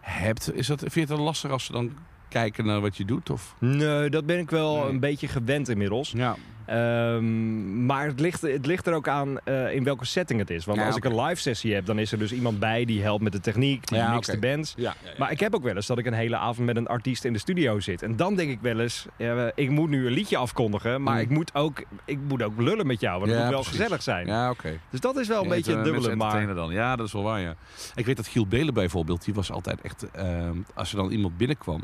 hebt? Is dat, vind je het dan lastig als ze dan kijken naar wat je doet? Of?
Nee, dat ben ik wel
Nee.
een beetje gewend inmiddels.
Ja.
Ehm, maar het ligt, het ligt er ook aan eh, in welke setting het is. Want
Ja,
als
oké.
ik een live sessie heb, dan is er dus iemand bij die helpt met de techniek, die
Ja,
mixt
oké.
de bands.
Ja,
Maar ik heb ook wel eens dat ik een hele avond met een artiest in de studio zit. En dan denk ik wel eens, eh, ik moet nu een liedje afkondigen, maar
Mm.
ik, moet ook, ik moet ook lullen met jou. Want het
Ja,
moet wel
precies.
gezellig zijn.
Ja, oké.
Dus dat is wel een
Je
beetje het
hebt, eh,
dubbele.
mensen
Maar
entertainen dan. Ja, dat is wel waar, ja. Ik weet dat Giel Belen bijvoorbeeld, die was altijd echt... ehm, als er dan iemand binnenkwam,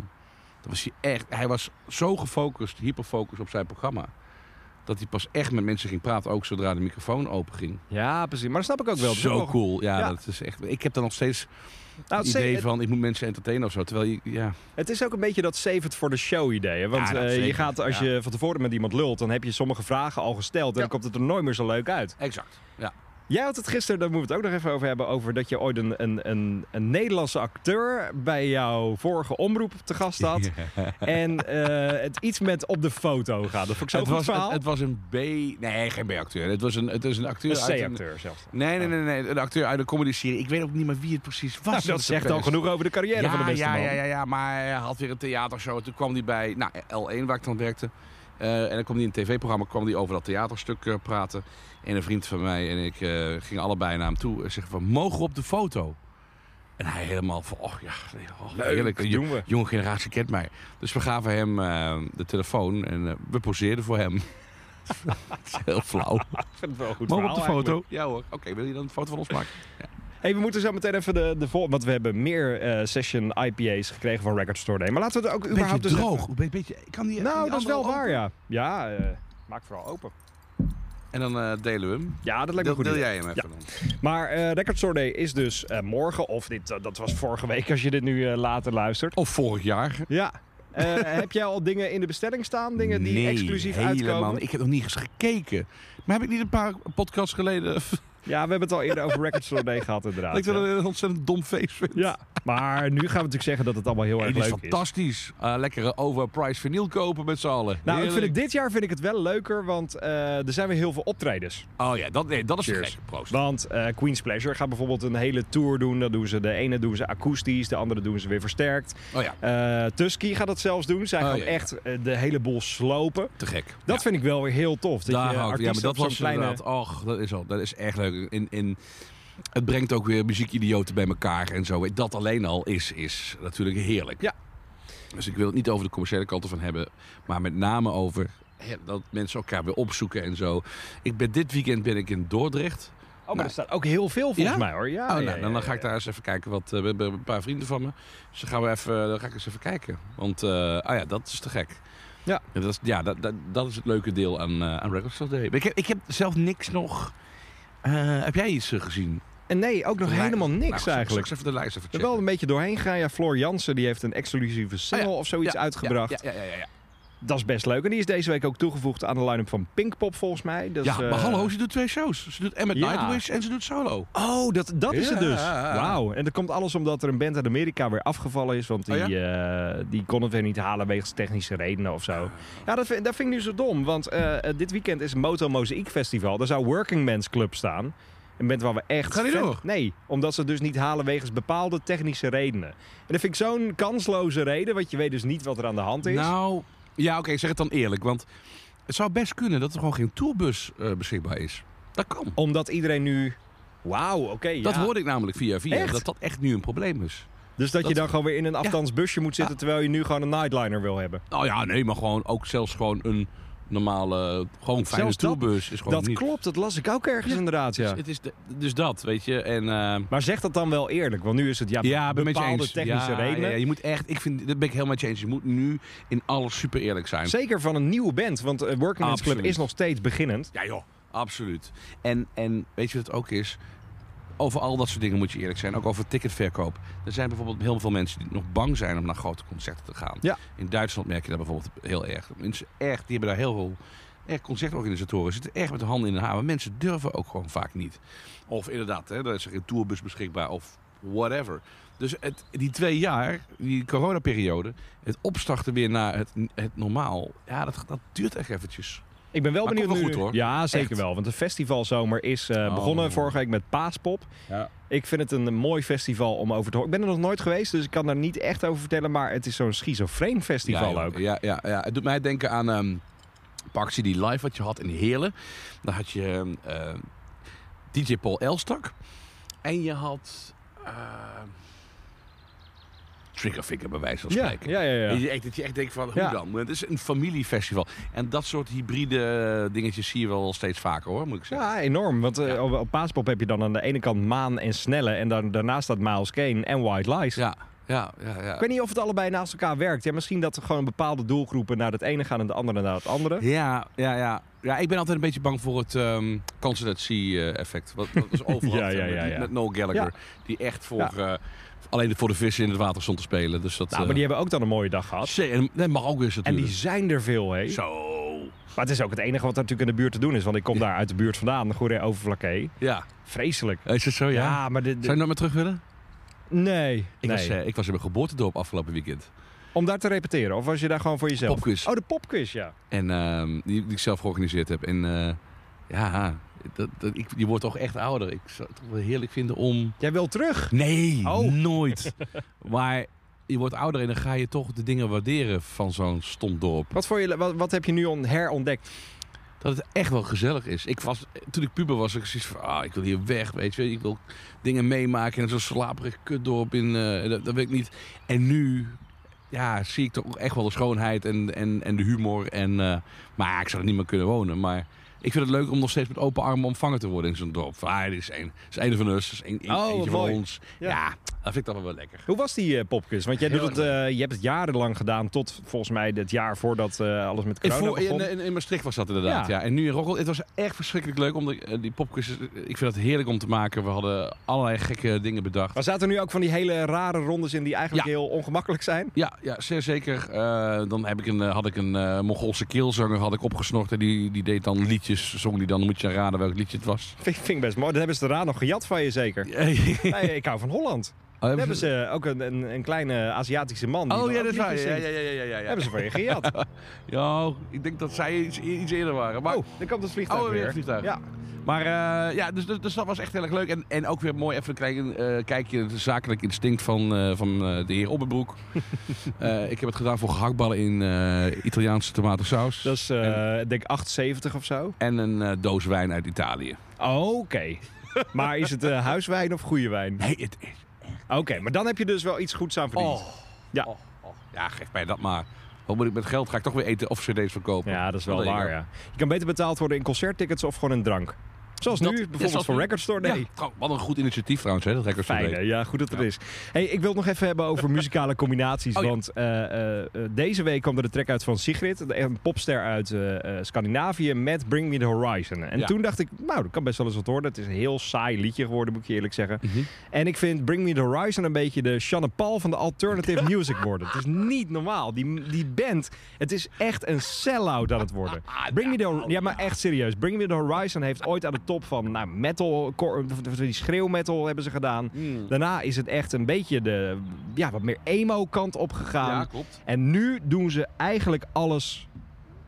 dan was hij echt... Hij was zo gefocust, hyperfocust op zijn programma... dat hij pas echt met mensen ging praten, ook zodra de microfoon open ging.
ja, precies. Maar dat snap ik ook wel. Dat is
Zo
ook-
cool. Ja,
Ja.
dat is echt... Ik heb dan nog steeds
Nou,
het
het,
idee
het-
van, ik moet mensen entertainen of zo. Terwijl je, ja...
het is ook een beetje dat save it for the show idee. hè. Want
Ja, dat
eh, je
zeker.
gaat, als
Ja.
je van tevoren met iemand lult, dan heb je sommige vragen al gesteld. En
Ja.
dan komt het er nooit meer zo leuk uit.
Exact. Ja.
Jij had het gisteren, daar moeten we het ook nog even over hebben, over dat je ooit een, een, een, een Nederlandse acteur bij jouw vorige omroep te gast had. En eh, het iets met op de foto gaat. Dat vond ik zo'n
Het
goed
was, het,
verhaal.
het was een B... Nee, geen B-acteur. Het was een, het is een acteur uit
een
een-
C-acteur zelfs.
Nee, nee, nee, nee. Een acteur uit een comedy-serie. Ik weet ook niet meer wie het precies was.
Nou, dat
is
zegt
de
al
pest.
genoeg over de carrière
Ja,
van de beste
ja,
man.
ja, ja, ja, maar hij had weer een theatershow. Toen kwam hij bij nou, L1, waar ik dan werkte. Eh, en dan kwam hij in een tv-programma kwam hij over dat theaterstuk eh, praten. En een vriend van mij en ik eh, gingen allebei naar hem toe en zeggen van, mogen we op de foto? En hij helemaal van, oh ja, nee, oh,
Leuk,
heerlijk. Een jo-
doen we.
jonge generatie kent mij. Dus we gaven hem eh, de telefoon en eh, we poseerden voor hem. Dat is heel flauw.
Ik vind het wel een goed
Mogen we op
verhaal
de foto?
eigenlijk.
Ja hoor. Oké, wil je dan een foto van ons maken?
Hey, we moeten zo meteen even de, de vol- Want we hebben meer eh, session IPA's gekregen van Record Store Day. Maar laten we het ook überhaupt... eens even-
Een beetje, kan die, kan
Nou,
die
dat
andere
is wel
open?
waar, ja. Ja, eh, maak vooral open.
En dan eh, delen we hem.
Ja, dat lijkt
Deel-
me goed.
Deel
idee.
jij hem even dan.
Maar eh Record Store Day is dus eh, morgen, of dit, eh, dat was vorige week als je dit nu eh, later luistert.
Of vorig jaar.
Ja. Eh, heb jij al dingen in de bestelling staan? Dingen die
Nee,
exclusief
helemaal
uitkomen?
niet. Ik heb nog niet eens gekeken. Maar heb ik niet een paar podcasts geleden...
Ja, we hebben het al eerder over Record Store Day gehad inderdaad.
dat ik dat
ja.
een ontzettend dom feest vind?
Ja, maar nu gaan we natuurlijk zeggen dat het allemaal heel erg
Het
leuk
is
is.
fantastisch. Eh, lekkere overpriced vinyl kopen met z'n allen.
Nou, ik vind
Heerlijk.
het, dit jaar vind ik het wel leuker, want eh, er zijn weer heel veel optredens.
Oh ja, dat, nee, dat is
Cheers.
gek. Proost.
Want eh, Queen's Pleasure gaat bijvoorbeeld een hele tour doen. Dan doen ze de ene doen ze akoestisch, de andere doen ze weer versterkt.
Oh ja,
Eh Tusky gaat dat zelfs doen. Zij
Oh,
gaan
ja, ja.
echt eh, de hele boel slopen.
te gek.
Dat
ja.
vind ik wel weer heel tof. Dat
Daar
je
hou ik-
artiesten
ja, maar dat
op zo'n
was
kleine...
inderdaad... Och, dat is, al, dat is echt leuk. In, in, het brengt ook weer muziekidioten bij elkaar en zo. Dat alleen al is, is natuurlijk heerlijk.
Ja.
Dus ik wil het niet over de commerciële kant ervan hebben. Maar met name over hè, dat mensen elkaar weer opzoeken en zo. Ik ben, dit weekend ben ik in Dordrecht.
Oh, maar
Nou.
er staat ook heel veel volgens
Ja?
mij hoor. Ja,
oh, nou,
ja, ja,
dan
ja,
ga ik
ja.
daar eens even kijken. Wat, eh, we hebben een paar vrienden van me. Dus dan, gaan we even, dan ga ik eens even kijken. Want eh ah ja, dat is te gek.
Ja.
En dat, is, ja, dat, dat, dat is het leuke deel aan, eh aan Record Store Day. Maar Ik heb, ik heb zelf niks nog... Eh, heb jij iets eh, gezien?
En nee, ook nog
De lij-
helemaal
Nou,
niks
zal ik
eigenlijk.
straks even de lijst even
Ik ben
checken.
wel een beetje doorheen gegaan. Ja, Floor Jansen die heeft een exclusieve single of zoiets
Oh Ja,
uitgebracht.
Ja, ja, ja, ja, ja.
Dat is best leuk. En die is deze week ook toegevoegd aan de line-up van Pinkpop volgens mij. Dat
ja,
is, eh,
maar hallo, ze doet twee shows. Ze doet Emmet
Ja.
Nightwish en ze doet solo.
Oh, dat, dat is het
Ja.
dus. Wauw. En dat komt alles omdat er een band uit Amerika weer afgevallen is. Want die,
Oh
eh, die kon het weer niet halen wegens technische redenen of zo. Ja, dat vind, dat vind ik nu zo dom. Want eh, eh, dit weekend is Moto Mozaïek Festival. Daar zou Working Men's Club staan. Een band waar we echt...
Gaan die
vet-
door?
Nee, omdat ze het dus niet halen wegens bepaalde technische redenen. En dat vind ik zo'n kansloze reden. Want je weet dus niet wat er aan de hand is.
Nou, ja, oké, zeg het dan eerlijk. Want het zou best kunnen dat er gewoon geen tourbus eh, beschikbaar is. Dat kan.
Omdat iedereen nu... Wauw, oké.
Dat
ja.
hoorde ik namelijk via via,
Echt?
dat dat echt nu een probleem is.
Dus dat, je
Dat- Ah.
dan gewoon weer in een aftans busje moet zitten... terwijl je nu gewoon een nightliner wil hebben.
Nou ja, nee, maar gewoon ook zelfs gewoon een normale, gewoon fijne
Zelfs dat-
tourbus is gewoon
Dat
niet...
klopt, dat las ik ook ergens
Ja,
inderdaad, ja.
Dus, het is de- dus dat, weet je. En, eh,
Maar zeg dat dan wel eerlijk, want nu is het ja,
ja, ik ben met je
bepaalde
eens.
technische
ja,
redenen.
Ja, je moet echt, ik vind, dat ben ik helemaal met je eens. Je moet nu in alles super eerlijk zijn.
Zeker van een nieuwe band, want eh, Working Men's Club
Absoluut.
is nog steeds beginnend.
Ja joh, absoluut. En, en weet je wat het ook is? over al dat soort dingen moet je eerlijk zijn. Ook over ticketverkoop. Er zijn bijvoorbeeld heel veel mensen die nog bang zijn om naar grote concerten te gaan.
Ja.
In Duitsland merk je dat bijvoorbeeld heel erg. Mensen echt, die hebben daar heel veel... Echt concertorganisatoren zitten echt met de handen in de haar. Maar mensen durven ook gewoon vaak niet. Of inderdaad, hè, er is geen tourbus beschikbaar of whatever. Dus het, die twee jaar, die coronaperiode, het opstarten weer naar het, het normaal. Ja, dat, dat duurt echt eventjes.
Ik ben wel
Maar
benieuwd
komt wel
nu-
goed, hoor.
Ja, zeker
Echt.
wel. Want de festivalzomer is eh,
Oh.
begonnen vorige week met Paaspop.
Ja.
Ik vind het een mooi festival om over te horen. Ik ben er nog nooit geweest, dus ik kan daar niet echt over vertellen. Maar het is zo'n schizofreen festival
ja, joh.
ook.
Ja, ja, ja, het doet mij denken aan ehm een actie die live wat je had in Heerlen. Daar had je ehm, eh, DJ Paul Elstak. En je had... eh Triggerfinger bij wijze van
Ja,
spreken.
ja, ja,
Dat
ja.
je echt, dat je echt denkt van, hoe
Ja.
dan? Het is een familiefestival. En dat soort hybride eh, dingetjes zie je wel steeds vaker hoor, moet ik zeggen.
Ja, enorm. Want eh,
Ja.
op, op Paaspop heb je dan aan de ene kant Maan en Snelle. En dan, daarnaast staat Miles Kane en White Lies.
Ja, ja, ja. ja.
Ik weet niet of het allebei naast elkaar werkt. Ja, misschien dat er gewoon bepaalde doelgroepen naar het ene gaan en de andere naar het andere.
Ja, ja, ja. Ja, ik ben altijd een beetje bang voor het ehm Constant at Sea, eh, effect. Wat, wat was overal
Ja,
te hebben
ja, ja,
met-
ja.
met Noel Gallagher. Die echt voor, eh, alleen voor de vissen in het water stond te spelen. Dus dat,
Nou, maar
eh,
die hebben ook dan een mooie dag gehad.
zee- en- nee, mag ook eens
En
natuurlijk.
die zijn er veel, hé.
Zo.
Maar het is ook het enige wat er natuurlijk in de buurt te doen is. Want ik kom daar uit de buurt vandaan, de goede overvlakke.
Ja.
Vreselijk.
Is het zo, Oh ja?
Ja, maar de, de-
Zou je nog maar terug willen?
nee.
Ik,
nee.
was, eh, ik was in mijn geboortedorp afgelopen weekend.
Om daar te repeteren? Of was je daar gewoon voor jezelf?
Popquiz.
Oh, de popquiz, ja.
En ehm, die, die ik zelf georganiseerd heb. En eh, ja, dat, dat, ik, je wordt toch echt ouder. Ik zou het toch wel heerlijk vinden om...
Jij wil terug?
Nee,
Oh.
nooit. maar je wordt ouder en dan ga je toch de dingen waarderen van zo'n stom dorp.
Wat, voor je, wat, wat heb je nu on, herontdekt?
Dat het echt wel gezellig is. Ik was, toen ik puber was, ik zoiets van, ah, ik wil hier weg, weet je. Ik wil dingen meemaken in zo'n slaperig kutdorp. In, eh, dat, dat weet ik niet. En nu ja, zie ik toch echt wel de schoonheid en, en, en de humor. En, eh, maar ja, ik zou er niet meer kunnen wonen. Maar ik vind het leuk om nog steeds met open armen ontvangen te worden in zo'n dorp. Van, ah, dit is een, dit is een van ons, dit is een, een-
Oh, wat
eentje van
mooi.
ons.
Ja.
Ja. dat vind ik dan wel wel lekker.
Hoe was die eh, popquiz? Want jij
Heel
doet het, eh, je hebt het jarenlang gedaan tot volgens mij het jaar voordat eh, alles met
In,
corona
voor- in,
begon.
in, in Maastricht was dat inderdaad,
Ja.
ja. En nu in Rockall. Het was echt verschrikkelijk leuk. Omdat, eh, die popquiz, is- ik vind dat heerlijk om te maken. We hadden allerlei gekke dingen bedacht.
maar zaten er nu ook van die hele rare rondes in die eigenlijk
Ja.
heel ongemakkelijk zijn?
Ja, ja zeer zeker. Eh, dan heb ik een, eh, had ik een eh Mongoolse keelzanger had ik opgesnort. En die, die deed dan liedjes. Zong die dan, dan moet je raden welk liedje het was.
Vind, vind ik best mooi. Dat hebben ze eraan nog gejat van je zeker.
Eh,
Nee, ik hou van Holland.
oh,
Daar hebben ze eh, ook een, een, een kleine Aziatische man. die
Oh
dan
ja,
ook
dat is waar.
liedjes
Ja,
zingt.
ja, ja, ja, ja, ja.
Hebben ze van je gejat.
Ja, ik denk dat zij iets, iets eerder waren. Maar
Oh, daar komt het vliegtuig
Oh, weer
weer.
het vliegtuig.
Ja.
Maar eh, ja, dus, dus, dus dat was echt heel erg leuk. En, en ook weer mooi even een klein, eh, kijkje het zakelijk instinct van, eh, van eh, de heer Opperbroek. Eh, ik heb het gedaan voor gehaktballen in eh, Italiaanse tomatensaus.
Dat is, eh, ik denk 78 of zo.
En een eh, doos wijn uit Italië.
Oh, Oké. maar is het eh, huiswijn of goede wijn?
Nee, het is...
Oké, maar dan heb je dus wel iets goeds aan verdiend.
Oh,
Ja.
oh, oh. Ja, geef mij dat maar. Wat moet ik met geld? Ga ik toch weer eten of cd's verkopen?
Ja, dat is wel
Alleen,
waar,
ja.
ja. Je kan beter betaald worden in concerttickets of gewoon in drank. Zoals
Dat-
nu,
ja,
bijvoorbeeld
zoals
voor
nu.
Record Store Day.
Ja, trouw- Oh, wat een goed initiatief trouwens, hè, dat Records for
Fijn,
Day.
hè? ja, goed dat het is. Hey, ik wil het nog even hebben over muzikale combinaties.
Oh, ja.
Want eh, eh, eh, deze week kwam er de track uit van Sigrid, een popster uit eh, eh, Scandinavië, met Bring Me The Horizon. En
Ja.
toen dacht ik, nou, dat kan best wel eens wat worden. Het is een heel saai liedje geworden, moet ik je eerlijk zeggen.
Mhm.
En ik vind Bring Me The Horizon een beetje de Shannon Paul van de alternative music worden. Het is niet normaal. Die, die band, het is echt een sell-out aan het worden. Bring Me The Hor- Ja, maar echt serieus. Bring Me The Horizon heeft ooit aan de top van nou, metal, cor- die schreeuwmetal hebben ze gedaan. Daarna is het echt een beetje de ja, wat meer emo-kant opgegaan.
Ja, klopt.
En nu doen ze eigenlijk alles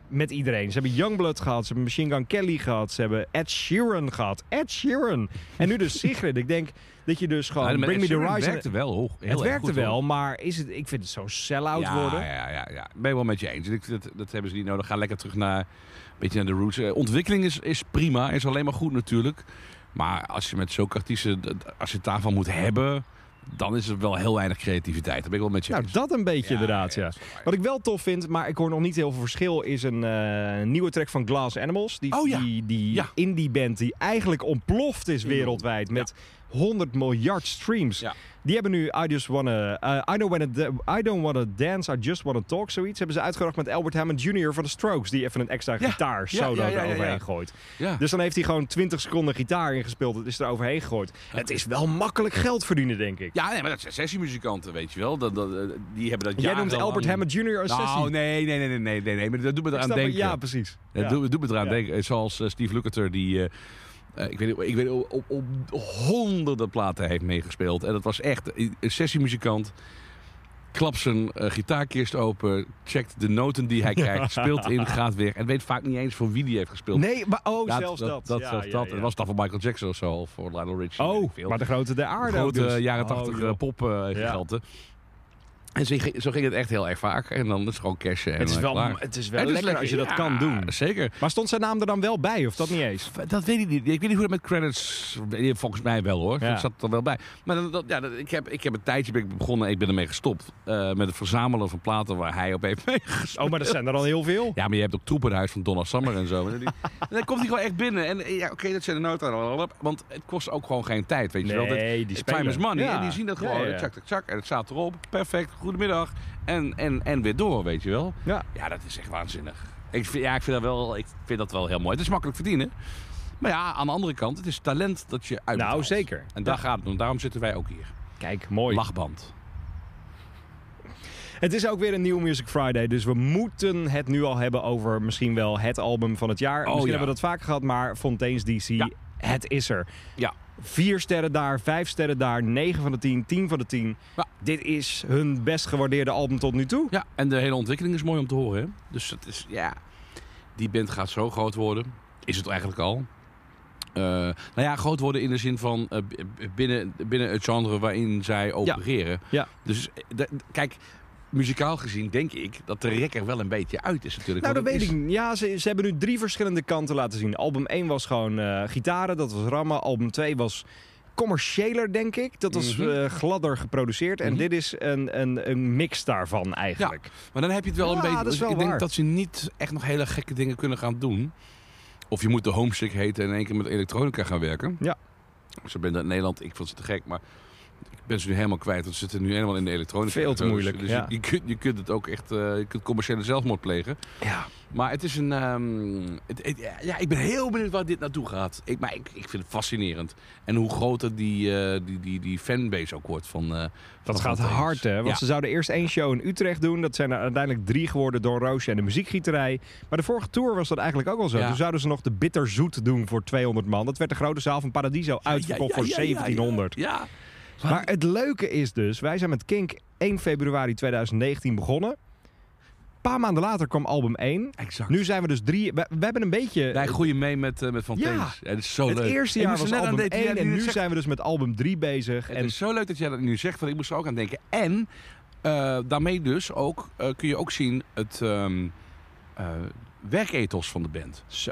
met iedereen. Ze hebben Youngblood gehad, ze hebben Machine Gun Kelly gehad, ze hebben Ed Sheeran gehad. Ed Sheeran! En nu dus Sigrid. Ik denk dat je dus gewoon
Nou, maar
Bring
Ed
Me The
Sheeran
Horizon...
werkte wel, hoor. Heel
het
erg
werkte
goed, hoor.
wel, maar is het, ik vind het zo'n sell-out
ja,
worden.
Ja, ja, ja. Ik ben het wel met je eens. Ik vind Dat, dat hebben ze niet nodig. Ga lekker terug naar, een beetje naar de roots. Eh, ontwikkeling is, is prima. Is alleen maar goed natuurlijk. Maar als je met zulke artiesten, d- d- als je het daarvan moet hebben... dan is er wel heel weinig creativiteit. Dat ben ik wel met je
Nou,
eens.
dat een beetje
Ja,
inderdaad,
ja,
ja.
dat is waar.
Wat ik wel tof vind, maar ik hoor nog niet heel veel verschil, is een eh, nieuwe track van Glass Animals. Die,
Oh ja.
die, die
Ja.
indie band die eigenlijk ontploft is wereldwijd met 100 miljard streams.
Ja.
Die hebben nu I Just Wanna... eh, I, don't wanna da- I Don't Wanna Dance, I Just Wanna Talk, zoiets. Hebben ze uitgebracht met Albert Hammond Jr. van de Strokes. Die even een extra
Ja.
gitaar
Ja,
solo
ja, ja, ja, ja.
eroverheen gooit.
Ja.
Dus dan heeft hij gewoon 20 seconden gitaar ingespeeld. Het is er overheen gegooid. Het is wel makkelijk geld verdienen, denk ik.
Ja, nee, maar dat zijn sessiemuzikanten, weet je wel. Dat, dat, eh, die hebben dat
Jij noemt
jarenlang-
Albert Hammond Jr. een
Nou,
sessie.
nee, nee, nee, nee, nee, nee, nee, maar dat doet me
Ik
eraan
snap het.
denken.
Ja, precies.
Dat
Ja.
doet, doet me eraan
Ja.
denken. Zoals eh, Steve Lukather, die eh, eh, ik weet, ik weet op, op, op honderden platen heeft meegespeeld. En dat was echt een sessiemuzikant. Klapt zijn eh, gitaarkist open, checkt de noten die hij krijgt, speelt in, gaat weg. En weet vaak niet eens voor wie die heeft gespeeld.
Nee, maar oh,
Ja,
zelfs dat.
dat,
Ja,
zelfs
ja,
dat.
ja.
Het was dan voor Michael Jackson of zo, of voor Lionel Richie. weet ik
Oh,
veel.
maar de grote der aarde. ook
grote
dus.
jaren
Oh,
80
joh.
pop eh giganten. En zo ging, zo ging het echt heel erg vaak. En dan is het gewoon cashen. en
het, is
dan
wel,
klaar.
het is wel
Het is
lekker als je dat
ja,
kan doen.
Zeker.
Maar stond zijn naam er dan wel bij, of dat niet eens?
Dat weet ik niet. Ik weet niet hoe dat met credits... eh, Volgens mij wel hoor.
Ja.
Dat zat er wel bij. Maar dan- dat, ja, dat- ik, heb, ik heb een tijdje ben ik begonnen en ik ben ermee gestopt. eh, met het verzamelen van platen waar hij op heeft meegespeeld.
Oh, maar er zijn er al heel veel.
Ja, maar je hebt ook troepenhuis van Donna Summer en zo. En die- en dan komt hij gewoon echt binnen. En eh, ja, oké, dat zijn de noten. Want het kost ook gewoon geen tijd, weet je wel. Dat-
Nee, die
Time
spelen.
is money.
Ja.
En die zien dat
Ja,
gewoon.
ja, ja.
Tjak, tjak, tjak. En het staat erop. Perfect. Goedemiddag. En, en, en weer door, weet je wel.
Ja.
Ja, dat is echt waanzinnig. Ik vind, ja, ik vind, dat wel, ik vind dat wel heel mooi. Het is makkelijk verdienen. Maar ja, aan de andere kant, het is talent dat je uit.
Nou, zeker.
En daar gaat het om. Daarom zitten wij ook hier.
Kijk, mooi.
Lachband.
Het is ook weer een nieuwe Music Friday, dus we moeten het nu al hebben over misschien wel het album van het jaar. misschien
Oh, ja.
hebben we dat vaak gehad, maar Fontaine's DC,
Ja.
het is er.
Ja.
Vier sterren daar, vijf sterren daar, negen van de tien, tien van de tien.
Ja.
Dit is hun best gewaardeerde album tot nu toe.
ja, en de hele ontwikkeling is mooi om te horen. Hè? Dus het is, ja, die band gaat zo groot worden. Is het eigenlijk al. Eh, nou ja, groot worden in de zin van eh, b- b- binnen, binnen het genre waarin zij opereren.
Ja.
Dus eh, d- d- kijk, muzikaal gezien denk ik dat de rek er wel een beetje uit is natuurlijk.
Nou, dat
Want het
weet
is-
ik niet. Ja, ze, ze hebben nu drie verschillende kanten laten zien. Album 1 was gewoon eh, gitaren, dat was rammen. Album 2 was commerciëler, denk ik. Dat was
Mhm.
eh, gladder geproduceerd. En
Mhm.
dit is een, een, een mix daarvan eigenlijk.
Maar dan heb je het wel
Ja,
een beetje.
dat is
dus
wel
ik denk
waar.
dat ze niet echt nog hele gekke dingen kunnen gaan doen. Of je moet de homesick heten en in één keer met elektronica gaan werken.
Ja.
Ze ben in Nederland, ik vond ze te gek, maar ik ben ze nu helemaal kwijt. Want ze zitten nu helemaal in de elektronica.
Veel te
Dus-
moeilijk,
Dus
ja.
je, je kunt, je kunt het ook echt, eh, je kunt commerciële zelfmoord plegen.
Ja.
Maar het is een. ehm, het- het- ja, ik ben heel benieuwd waar dit naartoe gaat. Ik, maar ik, ik vind het fascinerend. En hoe groter die, eh, die, die, die fanbase ook wordt van. eh, van
Dat gaat
Fontaine's.
hard, hè? Want
Ja.
ze zouden eerst één show in Utrecht doen. Dat zijn er uiteindelijk drie geworden door Roosje en de muziekgieterij. Maar de vorige tour was dat eigenlijk ook al zo.
Ja.
Toen zouden ze nog de bitterzoet doen voor 200 man. Dat werd de grote zaal van Paradiso uitverkocht
Ja, ja, ja,
voor
ja, ja.
1700.
ja.
Maar het leuke is dus, wij zijn met Kink 1 februari 2019 begonnen. Een paar maanden later kwam album 1.
Exact.
Nu zijn we dus drie. We, we hebben een beetje.
Wij groeien mee met, eh, met Van
Ja.
Teens. Ja, het is zo
het
leuk.
eerste
Ik
jaar
moest er
was
net aan
album
denken, ja,
1 en
nu
nu
zegt-
zijn we dus met album 3 bezig.
Het
En
is zo leuk dat jij dat nu zegt, want ik moest er ook aan denken. En eh, daarmee dus ook, eh, kun je ook zien het ehm eh, werkethos van de band. Zo.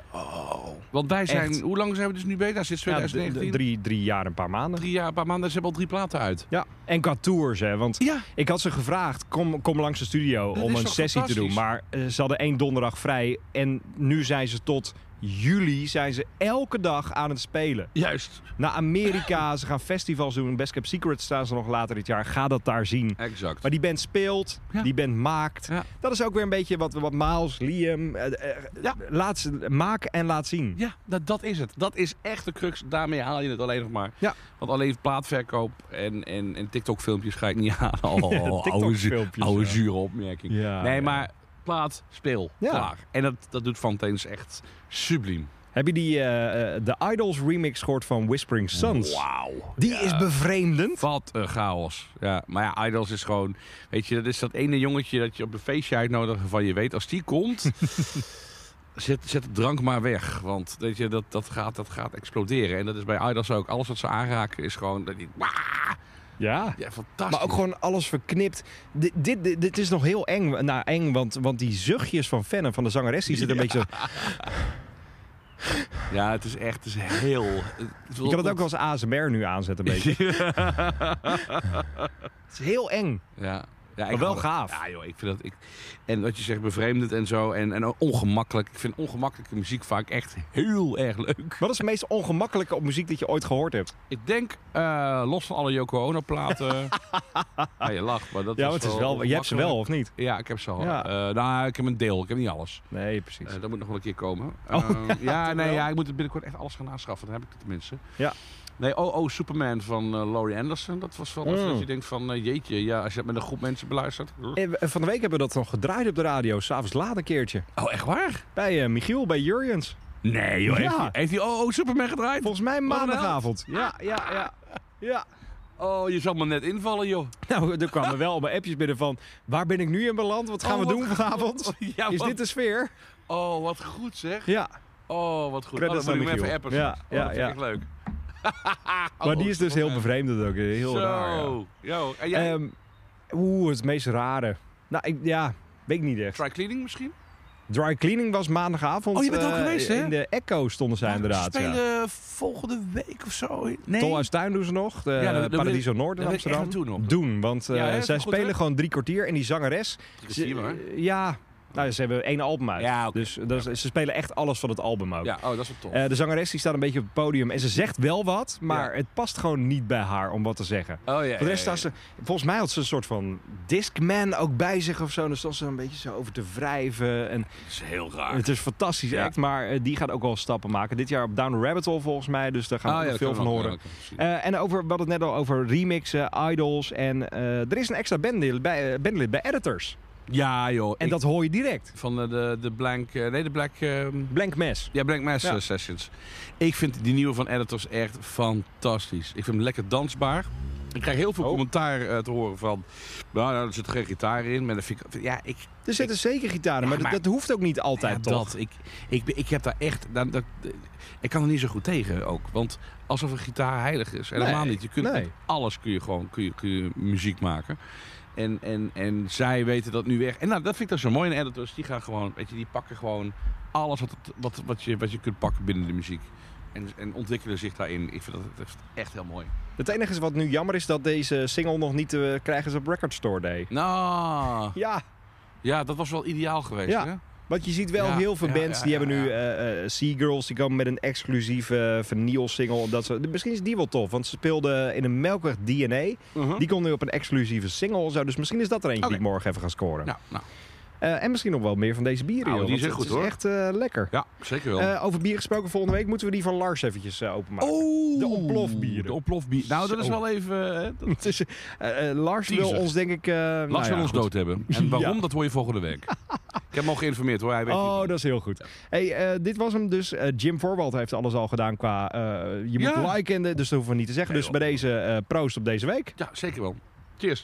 Want wij zijn,
Echt.
hoe lang zijn we dus nu bezig? Sinds
ja, d- d-
2019? drie,
drie, drie jaar, een paar maanden.
jaar, een paar maanden, ze hebben al drie platen uit.
Ja, en qua tours, hè. Want
Ja.
ik had ze gevraagd, kom, kom langs de studio
Dat
om
is
een
toch
sessie te doen. Maar eh, ze hadden één donderdag vrij. En nu zijn ze tot juli zijn ze elke dag aan het spelen.
Juist.
Naar Amerika, ze gaan festivals doen. Best Kept Secret staan ze nog later dit jaar. Ga dat daar zien.
Exact.
Maar die band speelt,
Ja.
die band maakt.
Ja.
Dat is ook weer een beetje wat, wat Miles, Liam... eh, eh,
Ja.
laat ze- maak en laat zien.
Ja, dat, dat is het. Dat is echt de crux. Daarmee haal je het alleen nog maar.
Ja.
Want alleen plaatverkoop en, en, en TikTok-filmpjes ga ik niet halen. Oh, oude, zu-
TikTok-filmpjes,
oude
ja.
zure opmerking.
Ja,
nee,
ja.
maar plaat, speel,
Ja.
klaar. En dat, dat doet Fontaine's echt subliem.
Heb je die, eh, eh, de Idols remix gehoord van Whispering Suns?
Wauw.
Die is bevreemdend.
Wat een chaos. Ja, maar ja, Idols is gewoon... Weet je, dat is dat ene jongetje dat je op een feestje uitnodigt... van je weet, als die komt... zet, zet de drank maar weg. Want weet je, dat, dat, gaat, dat gaat exploderen. En dat is bij Idols ook. Alles wat ze aanraken is gewoon... Dat die, Wah!
Ja.
ja, fantastisch.
Maar ook gewoon alles verknipt. Dit, dit, dit, dit is nog heel eng. Nou, eng, want, want die zuchtjes van Fenn en van de zangeres... die zitten een beetje zo...
Ja, het is echt het is heel...
Je kan het ook wel als ASMR nu aanzetten, een beetje. het is heel eng.
Ja. Ja, ik
Maar wel
hou dat-
gaaf.
Ja, joh, ik vind dat. Ik, en wat je zegt, bevreemdend en zo. En, en ongemakkelijk. Ik vind ongemakkelijke muziek vaak echt heel erg leuk.
Wat is het meest ongemakkelijke op muziek dat je ooit gehoord hebt?
Ik denk, eh, los van alle Yoko Ono platen. ja, je lacht, maar dat
ja,
was
want het is wel, je hebt ze wel,
ongemakkelijk.
of niet?
Ja, ik heb ze al.
Ja.
Eh, nou, ik heb een deel. Ik heb niet alles.
Nee, precies.
Eh, dat moet nog wel een keer komen. Eh, ja, nee,
Ehm, wel.
ja, ik moet binnenkort echt alles gaan aanschaffen. Dan heb ik het tenminste.
Ja.
Nee, oh, oh, Superman van eh, Laurie Anderson. Dat was wel even
Mm.
dat je denkt van, eh, jeetje, ja, als je dat met een groep mensen beluistert.
Eh, we- Van de week hebben we dat nog gedraaid op de radio, s'avonds laat een keertje.
Oh, echt waar?
Bij eh, Michiel, bij Jurjens.
Nee, joh. Heeft,
Ja.
hij- heeft hij oh, oh, Superman gedraaid?
Volgens mij
een
maandagavond. Ja, ja, ja. Ja.
Oh, je zal maar net invallen, joh.
Nou, er kwamen wel allemaal appjes binnen van... waar ben ik nu in beland? Wat gaan
Oh,
we
wat
doen
goed.
vanavond?
Ja,
Is
wat-
dit de sfeer?
Oh, wat goed zeg.
Ja,
Oh, wat goed. Oh,
Credits
dat moet ik
aan
me even
Michiel.
appen.
Ja,
straks. Oh,
ja,
dat vind
ja.
ik echt leuk.
maar die is dus heel bevreemdend ook. Heel
Zo.
raar. ja.
Yo, en jij,
Ehm, Oeh, het meest rare. Nou, ik, ja, weet ik niet echt.
dry cleaning misschien?
Dry cleaning was maandagavond.
Oh, je bent er ook
eh,
geweest, hè?
In de Echo stonden zij inderdaad.
Ze
Ja.
spelen volgende week of zo. Nee.
Tol uit Tuin doen ze nog. De eh,
Ja, nou, daar- daar wil
Paradiso
ik-
Noord in
daar wil ik echt
Amsterdam.
naartoe nog.
Doen, want eh,
Ja, hè, is
zij
goed,
spelen
hè?
gewoon drie kwartier. En die zangeres... ze-
Christine, hoor.
ja, nou, ze hebben één album uit.
Ja, oké.
Dus dat is- ze spelen echt alles van het album ook.
Ja, oh, dat is wel tof.
Eh, de zangeres die staat een beetje op het podium en ze zegt wel wat, maar
Ja.
het past gewoon niet bij haar om wat te zeggen.
oh ja.
Voor de rest
ja,
staat ze, volgens mij had ze een soort van Discman ook bij zich of zo. En dan stond ze een beetje zo over te wrijven. En
ja. Dat is heel raar.
het is een fantastisch
Ja.
act, maar eh, die gaat ook wel stappen maken. Dit jaar op Down the Rabbit Hole volgens mij, dus daar gaan we
Oh,
ook
ja, dat
nog veel van
kan wel.
horen.
Ja, dat kan wel.
Eh, en over, we hadden het net al over remixen, idols en eh, er is een extra bandlid bij, eh, bandlid bij editors.
Ja, joh.
En
ik-
dat hoor je direct.
van de, de, de Blank... eh, Nee, de Black... ehm,
Blank Mes.
Ja, Blank Mass
Ja.
eh, Sessions. Ik vind die nieuwe van Editors echt fantastisch. Ik vind hem lekker dansbaar. Ik krijg heel veel
Oh.
commentaar eh, te horen van... Nou, nou, er zit geen gitaar in. Maar dat vind ik... Ja, ik...
Er zitten zeker gitaren,
Ja,
maar, dat-
maar-
dat, hoeft ook niet altijd,
ja,
toch?
dat. Ik, ik, ben- ik heb daar echt... daar- dat, ik kan er niet zo goed tegen ook. Want alsof een gitaar heilig is. Helemaal
Nee,
niet. Je kunt,
nee.
met alles kun je gewoon kun je, kun je muziek maken. En, en, en zij weten dat nu weg. En nou, dat vind ik dan zo mooi in editors. Die gaan gewoon, weet je, die pakken gewoon alles wat, het- wat, wat, je, wat je kunt pakken binnen de muziek. En, en ontwikkelen zich daarin. Ik vind dat, dat is echt heel mooi.
Het enige is wat nu jammer is dat deze single nog niet te krijgen is op Record Store Day.
Nou,
Ja,
ja, dat was wel ideaal geweest.
Ja.
Hè?
want je ziet wel
Ja,
heel veel
ja,
bands
ja,
die
ja,
hebben nu
ja.
eh, eh, Seagirls, die komen met een exclusieve uh, single. Dat ze, misschien is die wel tof, want ze speelden in een Melkweg DNA. Die komt nu op een exclusieve single. en Zo, dus misschien is dat er eentje die
Oké.
ik morgen even ga scoren.
Nou, nou,
Eh, en misschien nog wel meer van deze bieren.
Nou,
joh,
die is
want
echt
het
goed, hoor.
echt eh, lekker.
ja, zeker wel.
Eh, over bier gesproken, volgende week moeten we die van Lars eventjes eh, openmaken.
oh,
de ontplofbieren.
De ontplofbieren. Nou, dat is
Zo.
wel even... eh, dat-
Het is, eh, eh, Lars wil
Teaser.
ons denk ik... eh, nou
Lars
ja,
wil ons
goed.
dood hebben. En waarom,
Ja.
dat hoor je volgende week. ik heb hem al geïnformeerd hoor, hij weet
Oh,
niet.
dat is heel goed. Hey, eh, dit was hem dus. Eh, Jim Voorwald heeft alles al gedaan qua... eh, je moet
Ja.
liken, en de- dus dat hoeven we niet te zeggen.
Nee,
dus
joh.
bij deze eh, proost op deze week.
Ja, zeker wel. Cheers.